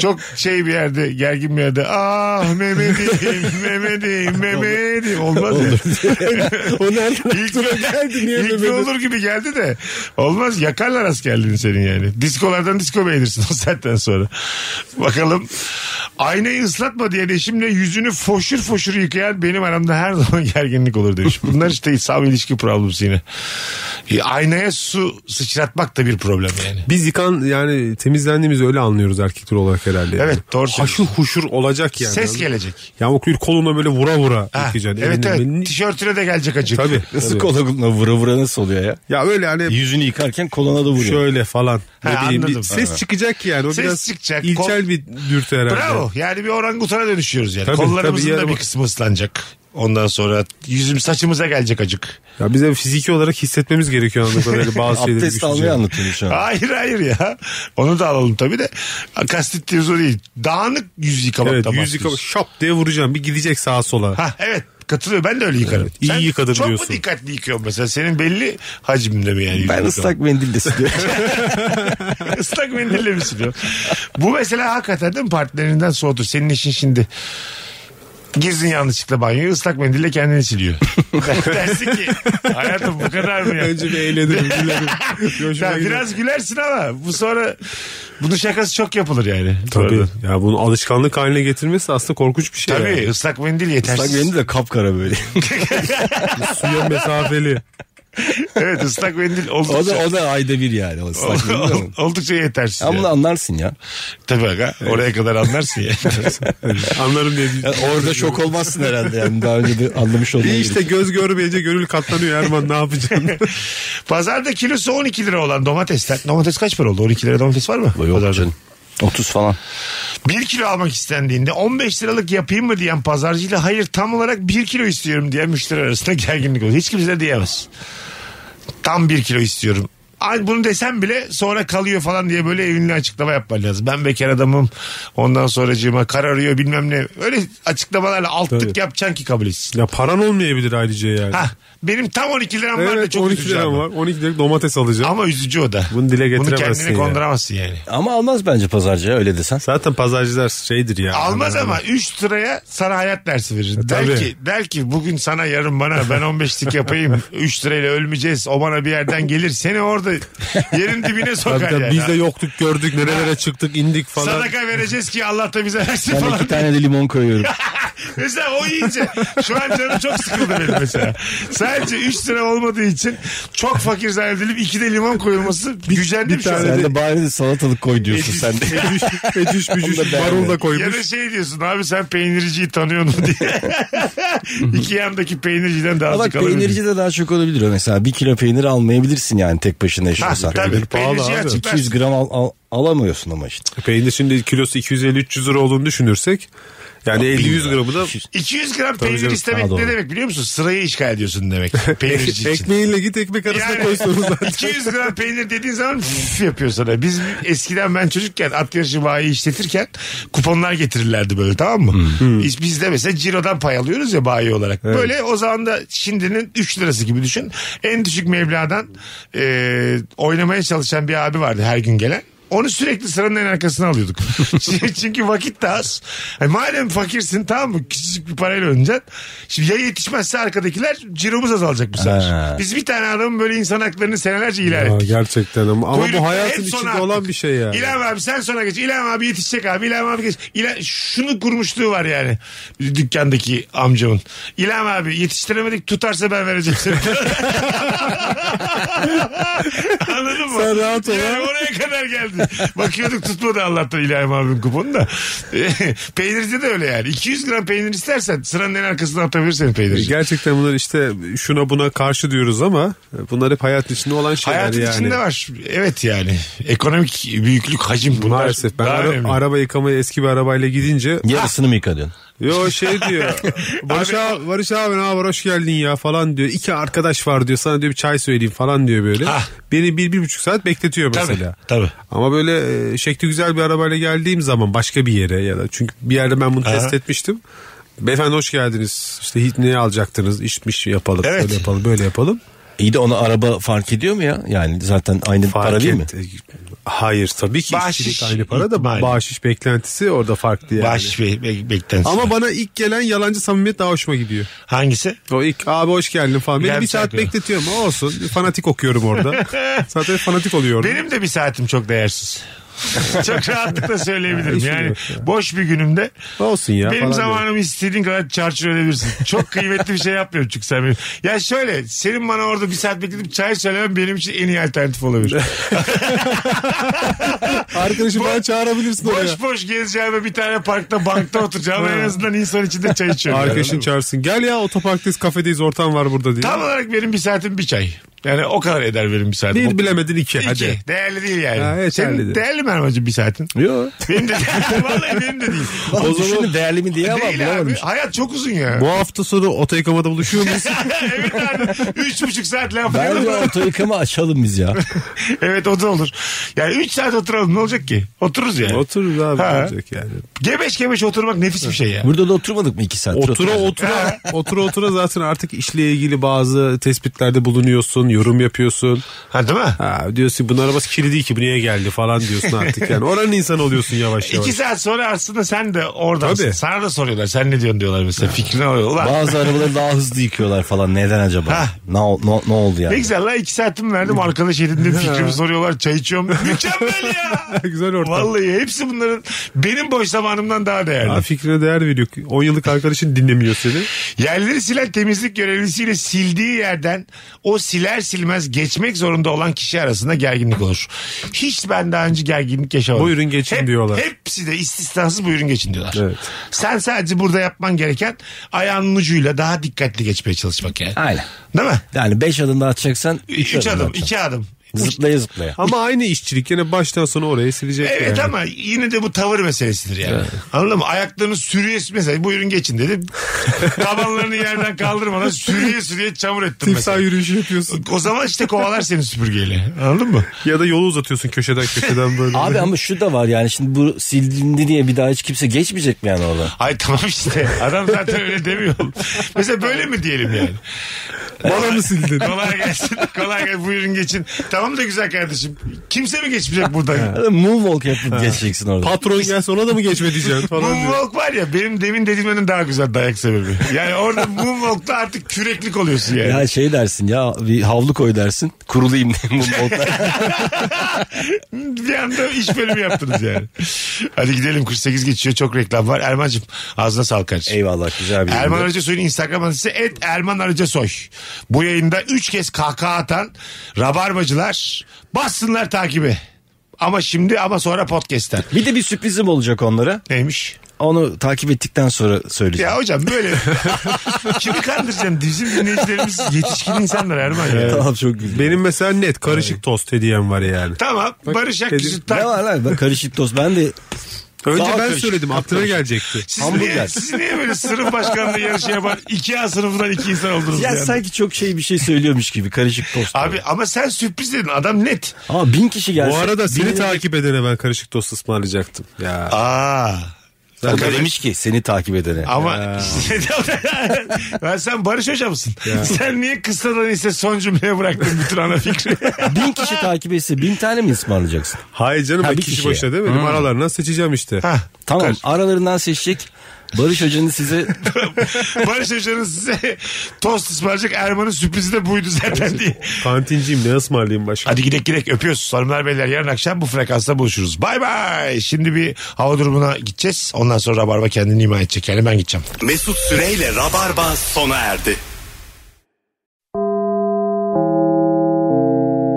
Speaker 3: Çok şey bir yerde gergin bir yerde. Ah Mehmet'im Mehmet'im Mehmet'im. Olmaz ya.
Speaker 4: O nereden
Speaker 3: İlk,
Speaker 4: aklına geldi? Niye
Speaker 3: ilk bir
Speaker 4: Mehmet'im?
Speaker 3: olur gibi geldi de olmaz yakarlar askerliğini senin yani. Diskolardan disko beğenirsin o saatten sonra. Bakalım aynayı ıslatma diye eşimle yüzünü foşur foşur yıkayan benim aramda her zaman gerginlik olur demiş. Bunlar işte sağ ilişki problemsi yine. E, aynaya su sıçratmak da bir problem yani.
Speaker 8: Biz yıkan yani temizlendiğimizi öyle anlıyoruz erkekler olarak herhalde. yani.
Speaker 3: Evet, doğru
Speaker 8: Haşır
Speaker 3: söylüyorsun.
Speaker 8: huşur olacak yani.
Speaker 3: Ses gelecek.
Speaker 8: Ya o koluna böyle vura vura
Speaker 3: Ha,
Speaker 8: yıkayacaksın.
Speaker 3: evet
Speaker 8: Elinle
Speaker 3: evet
Speaker 8: belini-
Speaker 3: tişörtüne de gelecek acık.
Speaker 8: Tabii.
Speaker 4: Nasıl
Speaker 8: tabii.
Speaker 4: koluna vura vura nasıl oluyor ya?
Speaker 8: Ya öyle hani
Speaker 4: Yüzünü yıkarken koluna da vuruyor.
Speaker 8: şöyle falan. Ne
Speaker 3: Ha,
Speaker 8: bileyim, bir
Speaker 3: anladım.
Speaker 8: ses
Speaker 3: Ha.
Speaker 8: çıkacak yani. O
Speaker 3: Ses
Speaker 8: biraz
Speaker 3: çıkacak.
Speaker 8: ilkel
Speaker 3: Kol-
Speaker 8: bir dürtü herhalde.
Speaker 3: Bravo. Yani bir orangutana dönüşüyoruz yani.
Speaker 8: Tabii,
Speaker 3: Kollarımızın
Speaker 8: tabii,
Speaker 3: da
Speaker 8: yani
Speaker 3: bir
Speaker 8: bak-
Speaker 3: kısmı ıslanacak. Ondan sonra yüzüm saçımıza gelecek acık.
Speaker 8: Ya bize fiziki olarak hissetmemiz gerekiyor anladığım kadarıyla bazı şeyleri.
Speaker 4: Abdest almayı
Speaker 8: güçlüce.
Speaker 4: anlatıyormuş şu an.
Speaker 3: Hayır hayır ya. Onu da alalım tabii de. Kastettiğimiz o değil. Dağınık yüz yıkamak
Speaker 8: Evet
Speaker 3: da
Speaker 8: yüz yıkama
Speaker 3: bahsediyoruz.
Speaker 8: şap diye vuracağım. Bir gidecek sağa sola.
Speaker 3: Ha evet katılıyor. Ben de öyle yıkarım.
Speaker 8: Evet, iyi
Speaker 3: Sen
Speaker 8: yıkadım
Speaker 3: çok
Speaker 8: diyorsun.
Speaker 3: mu dikkatli yıkıyorsun mesela? Senin belli hacimde mi yani? yüz
Speaker 4: Ben
Speaker 3: yıkamak?
Speaker 4: ıslak mendille siliyorum.
Speaker 3: Islak mendille mi siliyor? Bu mesela hakikaten değil mi? Partnerinden soğutur. Senin işin şimdi. Girdin yanlışlıkla banyoya ıslak mendille kendini siliyor. Dersin ki hayatım bu kadar mı ya?
Speaker 8: Önce bir eğlenirim gülerim. Hoşuma
Speaker 3: Ya
Speaker 8: gider.
Speaker 3: biraz gülersin ama bu sonra bunun şakası çok yapılır yani.
Speaker 8: Tabii.
Speaker 3: Sonra-
Speaker 8: Ya bunu alışkanlık haline getirmesi aslında korkunç bir şey.
Speaker 3: Tabii
Speaker 8: yani.
Speaker 3: ıslak mendil yetersiz.
Speaker 4: Sak beni de kapkara böyle.
Speaker 8: Suya mesafeli.
Speaker 3: evet ıslak mendil
Speaker 4: O da,
Speaker 3: oldukça,
Speaker 4: o da ayda bir yani. O ıslak değil mi?
Speaker 3: oldukça yetersiz.
Speaker 4: Ama
Speaker 3: yani.
Speaker 4: bunu anlarsın ya.
Speaker 3: Tabii aga oraya kadar anlarsın ya.
Speaker 8: Anlarım diye.
Speaker 4: Ya Orada şok olmazsın herhalde yani daha önce de anlamış olduğunu.
Speaker 8: İyi işte göz görmeyince gönül katlanıyor Erman ne yapacaksın?
Speaker 3: Pazarda kilosu 12 lira olan domatesler. Domates kaç para oldu? 12 lira domates var mı? Pazarda.
Speaker 4: 30 falan.
Speaker 3: Bir kilo almak istendiğinde 15 liralık yapayım mı diyen pazarcıyla hayır tam olarak 1 kilo istiyorum diyen müşteri arasında gerginlik olur. Hiç kimse diyemez. Tam 1 kilo istiyorum. Ay bunu desem bile sonra kalıyor falan diye böyle evinli açıklama yapman lazım. Ben bekar adamım ondan sonracığıma kararıyor bilmem ne. Öyle açıklamalarla altlık
Speaker 8: Tabii.
Speaker 3: yapacaksın ki kabul etsin.
Speaker 8: ya paran olmayabilir ayrıca yani.
Speaker 3: Hah, benim tam 12 liram var da
Speaker 8: evet
Speaker 3: çok
Speaker 8: 12
Speaker 3: üzücü ama.
Speaker 8: liram var. 12 lira domates alacağım.
Speaker 3: Ama üzücü o da.
Speaker 8: Bunu dile
Speaker 3: Bunu
Speaker 8: getiremezsin
Speaker 3: kendine
Speaker 8: ya.
Speaker 3: konduramazsın yani.
Speaker 4: Ama almaz bence pazarcıya öyle desen.
Speaker 8: Zaten pazarcılar şeydir ya.
Speaker 3: Almaz ama 3 liraya sana hayat dersi verir. Der
Speaker 8: E, tabii.
Speaker 3: ki, der ki bugün sana yarın bana ben 15'lik yapayım. 3 lirayla ölmeyeceğiz. O bana bir yerden gelir. Seni orada yerin dibine sokar
Speaker 8: Tabii tabii
Speaker 3: yani.
Speaker 8: Hani biz de yoktuk gördük nerelere çıktık indik falan.
Speaker 3: Sadaka vereceğiz ki Allah da bize versin
Speaker 4: Ben
Speaker 3: falan.
Speaker 4: iki tane de limon koyuyorum.
Speaker 3: Mesela o iyice. Şu an canım çok sıkıldı benim mesela. Sadece 3 lira olmadığı için çok fakir zannedilip 2 de limon koyulması gücendim
Speaker 8: bir
Speaker 3: şu an.
Speaker 8: tane
Speaker 4: Sen de bari de salatalık koy diyorsun sen de.
Speaker 8: Ecüş, ecüş bücüş
Speaker 4: Onu da beğenmedim.
Speaker 8: marul da
Speaker 3: Ya
Speaker 8: koymuş.
Speaker 3: da şey diyorsun abi sen peynirciyi tanıyor mu diye. İki yandaki peynirciden daha
Speaker 4: Ama
Speaker 3: azıcık
Speaker 4: bak
Speaker 3: alabilir.
Speaker 4: peynirci de daha çok olabilir o mesela. Bir kilo peynir almayabilirsin yani tek başına
Speaker 3: Ha,
Speaker 4: yaşıyorsan.
Speaker 3: tabii.
Speaker 8: pahalı
Speaker 3: Peynirciyi
Speaker 8: abi.
Speaker 3: açıklarsın.
Speaker 4: 200 gram al- al- alamıyorsun ama işte.
Speaker 8: Peynir şimdi kilosu 250-300 lira olduğunu düşünürsek yani 50-100 gramı da
Speaker 3: 200 gram peynir
Speaker 8: canım.
Speaker 3: istemek
Speaker 4: Ha,
Speaker 3: ne
Speaker 4: doğru.
Speaker 3: demek biliyor musun? Sırayı işgal ediyorsun demek. Peynirci için.
Speaker 8: ekmeğiyle git ekmek arasına
Speaker 3: Yani
Speaker 8: koysunuz zaten.
Speaker 3: 200 gram peynir dediğin zaman fff yapıyor sana. Biz eskiden ben çocukken at yarışı bayi işletirken kuponlar getirirlerdi böyle tamam mı? Biz, biz de mesela cirodan pay alıyoruz ya bayi olarak. Böyle o zaman da şimdinin 3 lirası gibi düşün. En düşük meblağdan e, oynamaya çalışan bir abi vardı her gün gelen. Onu sürekli sıranın en arkasına alıyorduk. Çünkü vakit de az. Yani madem fakirsin tamam mı? Küçücük bir parayla oynayacaksın. Şimdi ya yetişmezse arkadakiler ciromuz azalacak bu sefer.
Speaker 4: Ha.
Speaker 3: Biz bir tane adamın böyle insan haklarını senelerce ilan
Speaker 8: Ya
Speaker 3: ettik.
Speaker 8: gerçekten ama, ama
Speaker 3: Kuyrukta
Speaker 8: bu
Speaker 3: hep
Speaker 8: hayatın
Speaker 3: sona
Speaker 8: içinde
Speaker 3: attık.
Speaker 8: olan bir şey yani.
Speaker 3: İlham abi sen sona geç. İlham abi yetişecek abi. İlham abi geç. İlham, şunu kurmuşluğu var yani dükkandaki amcamın. İlham abi yetiştiremedik tutarsa ben vereceğim seni. Anladın mı?
Speaker 8: Sen rahat ol
Speaker 3: Yani
Speaker 8: ha.
Speaker 3: oraya kadar geldi. Bakıyorduk tutmadı Allah'tan İlham abim kuponu da. Peynirci de öyle yani. 200 gram peynir istersen sıranın en arkasına atabilirsin peynirci.
Speaker 8: Gerçekten bunlar işte şuna buna karşı diyoruz ama bunlar hep hayatın içinde olan şeyler
Speaker 3: Hayatın
Speaker 8: yani.
Speaker 3: içinde var. Evet yani. Ekonomik büyüklük, hacim bunlar.
Speaker 8: Maalesef ben
Speaker 3: daha
Speaker 8: ara-
Speaker 3: önemli.
Speaker 8: araba yıkamaya eski bir arabayla gidince
Speaker 4: Yarısını mı yıkadın?
Speaker 8: yo şey diyor Barış
Speaker 3: Abi-
Speaker 8: abi, Barış abi ne haber hoş geldin ya falan diyor. İki arkadaş var diyor sana diyor bir çay söyleyeyim falan diyor böyle.
Speaker 3: Ah.
Speaker 8: Beni bir bir buçuk saat bekletiyor
Speaker 3: Tabii,
Speaker 8: mesela.
Speaker 3: tabii.
Speaker 8: Ama böyle e, şekli güzel bir arabayla geldiğim zaman başka bir yere ya da çünkü bir yerde ben bunu
Speaker 3: Aha.
Speaker 8: test etmiştim. Beyefendi hoş geldiniz. İşte hiç ne alacaktınız? İşmiş yapalım.
Speaker 3: Evet.
Speaker 8: Böyle yapalım. Böyle yapalım.
Speaker 4: İyi de ona araba fark ediyor mu ya? Yani zaten aynı
Speaker 8: Fark
Speaker 4: para değil mi?
Speaker 8: et- Hayır tabii ki
Speaker 3: Bahşiş
Speaker 8: işçilik aynı para da
Speaker 3: ihtimali.
Speaker 8: bahşiş beklentisi orada farklı yani.
Speaker 3: Bahşiş be- be- beklentisi.
Speaker 8: Ama bana ilk gelen yalancı samimiyet daha hoşuma gidiyor.
Speaker 3: Hangisi?
Speaker 8: O ilk abi hoş geldin falan. Beni
Speaker 3: Gel
Speaker 8: bir
Speaker 3: bir
Speaker 8: saat
Speaker 3: saat ver.
Speaker 8: bekletiyor mu? Olsun. Fanatik okuyorum orada. Zaten fanatik oluyorum.
Speaker 3: Benim de bir saatim çok değersiz. çok rahatlıkla söyleyebilirim.
Speaker 8: Ya,
Speaker 3: Yani
Speaker 8: işim yok ya.
Speaker 3: boş bir günümde
Speaker 8: Olsun ya
Speaker 3: benim
Speaker 8: falan
Speaker 3: zamanımı istediğin kadar çarçur edebilirsin. Çok kıymetli bir şey yapmıyorum çünkü sen benim. Ya şöyle senin bana orada bir saat bekletip çay söylemen benim için en iyi alternatif olabilir.
Speaker 8: Arkadaşım
Speaker 3: Bo-
Speaker 8: bana çağırabilirsin oraya.
Speaker 3: boş boş gezeceğime bir tane parkta bankta oturacağım en azından insan içinde çay içiyorum.
Speaker 8: Arkadaşın
Speaker 3: Yani.
Speaker 8: çağırsın. Gel ya otoparktayız kafedeyiz ortam var burada diye.
Speaker 3: Tam olarak benim bir saatim bir çay. Yani o kadar eder benim bir saatim.
Speaker 8: Bir bilemedin iki.
Speaker 3: İki.
Speaker 8: Hadi.
Speaker 3: Değerli değil yani.
Speaker 8: Ha, yeterli
Speaker 3: Senin
Speaker 8: değil.
Speaker 3: değerli mi Erman'cığım bir saatin?
Speaker 4: Yok.
Speaker 3: Benim de Vallahi benim de değil.
Speaker 4: O zaman değerli mi diye ama
Speaker 3: değil abi.
Speaker 4: bulamadım.
Speaker 3: Hayat çok uzun ya.
Speaker 8: Bu hafta sonu otoyıkamada buluşuyor muyuz?
Speaker 3: evet abi. Üç buçuk saat laf
Speaker 4: Bence
Speaker 3: yapalım.
Speaker 4: orta yıkama açalım biz ya.
Speaker 3: Evet o da olur. Yani üç saat oturalım ne olacak ki? Otururuz yani.
Speaker 8: Otururuz abi.
Speaker 3: Ha.
Speaker 8: ne olacak yani.
Speaker 3: Gebeş gebeş oturmak nefis bir şey ya.
Speaker 4: Burada da oturmadık mı iki saat?
Speaker 8: Otura otura otura otura zaten artık işle ilgili bazı tespitlerde bulunuyorsun, yorum yapıyorsun.
Speaker 3: Ha değil mi?
Speaker 8: Ha, diyorsun bunun arabası kilidi ki bu niye geldi falan diyorsun artık yani. Oranın insanı oluyorsun yavaş yavaş.
Speaker 3: İki saat sonra aslında sen de oradansın.
Speaker 8: Tabii.
Speaker 3: Sana da soruyorlar. Sen ne diyorsun diyorlar mesela. Fikrini alıyor. Ulan
Speaker 4: Bazı arabaları daha hızlı yıkıyorlar falan. Neden acaba?
Speaker 3: Hah.
Speaker 4: Ne, ol- ne, ne oldu yani?
Speaker 3: ne güzel lan iki saatimi verdim arkadaş edindim fikrimi soruyorlar çay içiyorum. Mükemmel ya.
Speaker 8: Güzel ortam.
Speaker 3: Vallahi hepsi bunların benim boş zamanımdan daha değerli.
Speaker 8: Ha, fikrine değer veriyor. 10 yıllık arkadaşın dinlemiyor seni.
Speaker 3: Yerleri silen temizlik görevlisiyle sildiği yerden o siler siler silmez geçmek zorunda olan kişi arasında gerginlik olur. Hiç ben daha önce gerginlik yaşamadım.
Speaker 8: Buyurun geçin
Speaker 3: Hep-
Speaker 8: diyorlar.
Speaker 3: Hepsi de istisnasız buyurun geçin diyorlar.
Speaker 8: Evet.
Speaker 3: Sen sadece burada yapman gereken ayağının ucuyla daha dikkatli geçmeye çalışmak yani.
Speaker 4: Aynen.
Speaker 3: Değil mi?
Speaker 4: Yani 5 adım daha atacaksan 3
Speaker 3: Üç,
Speaker 4: adım,
Speaker 3: adım,
Speaker 4: atacaksın.
Speaker 3: iki adım.
Speaker 4: Zıplaya zıplaya.
Speaker 8: Ama aynı işçilik yine baştan sona oraya silecek.
Speaker 3: Evet
Speaker 8: yani.
Speaker 3: ama yine de bu tavır meselesidir yani. Anladın mı? Ayaklarını sürüye mesela buyurun geçin dedim. Tabanlarını yerden kaldırmadan sürüye sürüye çamur ettim
Speaker 8: Timsah
Speaker 3: mesela.
Speaker 8: yürüyüşü yapıyorsun.
Speaker 3: O zaman işte kovalar seni süpürgeyle. Anladın mı?
Speaker 8: Ya da yolu uzatıyorsun köşeden köşeden böyle.
Speaker 4: Abi ama şu da var yani şimdi bu silindi diye bir daha hiç kimse geçmeyecek mi yani orada?
Speaker 3: Ay tamam işte. Adam zaten öyle demiyor. oğlum. Mesela böyle mi diyelim yani?
Speaker 8: Bana mı sildin?
Speaker 3: Kolay gelsin. Kolay gelsin. Buyurun geçin. Tamam da güzel kardeşim. Kimse mi geçmeyecek buradan?
Speaker 4: Moonwalk yapıp geçeceksin orada.
Speaker 8: Patron gelse ona da mı geçme diyeceksin falan diyor.
Speaker 3: Moonwalk var ya benim demin dediğimden daha güzel dayak sebebi. Yani orada moonwalk'ta artık küreklik oluyorsun yani.
Speaker 4: Ya şey dersin ya bir havlu koy dersin kurulayım diye Moonwalk'ta.
Speaker 3: Bir anda iş bölümü yaptınız yani. Hadi gidelim 48 geçiyor çok reklam var. Erman'cığım ağzına sağlık kardeşim.
Speaker 4: Eyvallah güzel bir
Speaker 3: Erman
Speaker 4: yayındı.
Speaker 3: Arıca Soy'un Instagram adresi et Erman Arıca Soy. Bu yayında 3 kez kahkaha atan rabarbacılar bassınlar takibi. Ama şimdi ama sonra podcast'ten.
Speaker 4: Bir de bir sürprizim olacak onlara.
Speaker 3: Neymiş?
Speaker 4: Onu takip ettikten sonra söyleyeceğim.
Speaker 3: Ya hocam böyle kimi kandıracaksın? Bizim dinleyicilerimiz yetişkin insanlar Erman ya.
Speaker 4: Tamam çok güzel.
Speaker 8: Benim mesela net karışık tost hediyem var yani.
Speaker 3: Tamam Barış Akgüz'ü
Speaker 4: Ne
Speaker 3: tak.
Speaker 4: var lan? Ben karışık tost. Ben de
Speaker 8: Önce
Speaker 4: Daha
Speaker 8: ben
Speaker 4: karışık,
Speaker 8: söyledim aklına gelecekti.
Speaker 3: Siz
Speaker 4: hamburger.
Speaker 3: niye, siz niye böyle sınıf başkanlığı yarışı yapan iki A sınıfından iki insan oldunuz?
Speaker 4: ya
Speaker 3: yani?
Speaker 4: sanki çok şey bir şey söylüyormuş gibi karışık tost.
Speaker 3: Abi ama sen sürpriz dedin adam net.
Speaker 4: Ama bin kişi gelse.
Speaker 8: Bu arada seni
Speaker 4: bin-
Speaker 8: takip edene ben karışık tost ısmarlayacaktım. Ya.
Speaker 3: Aa.
Speaker 4: O da demiş ki seni takip edene.
Speaker 3: Ama ben sen Barış Hoca mısın? Sen niye kısadan ise son cümleye bıraktın bütün ana fikri?
Speaker 4: Bin kişi takip etse bin tane mi ısmarlayacaksın?
Speaker 8: Hayır canım
Speaker 4: Ha,
Speaker 8: ben
Speaker 4: bir
Speaker 8: kişi
Speaker 4: kişiye. Hmm.
Speaker 8: başına demedim. Aralarından seçeceğim işte.
Speaker 3: Hah,
Speaker 4: Tamam aralarından seçecek. Barış Hoca'nın size
Speaker 3: Barış Hoca'nın size tost ısmarlayacak Erman'ın sürprizi de buydu zaten diye.
Speaker 8: Kantinciyim ne ısmarlayayım başka?
Speaker 3: Hadi gidek gidek öpüyoruz. Hanımlar beyler yarın akşam bu frekansta buluşuruz. Bay bay. Şimdi bir hava durumuna gideceğiz. Ondan sonra Rabarba kendini ima edecek. Yani ben gideceğim.
Speaker 2: Mesut Süreyle Rabarba sona erdi.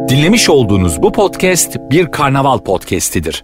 Speaker 1: Dinlemiş olduğunuz bu podcast bir karnaval podcastidir.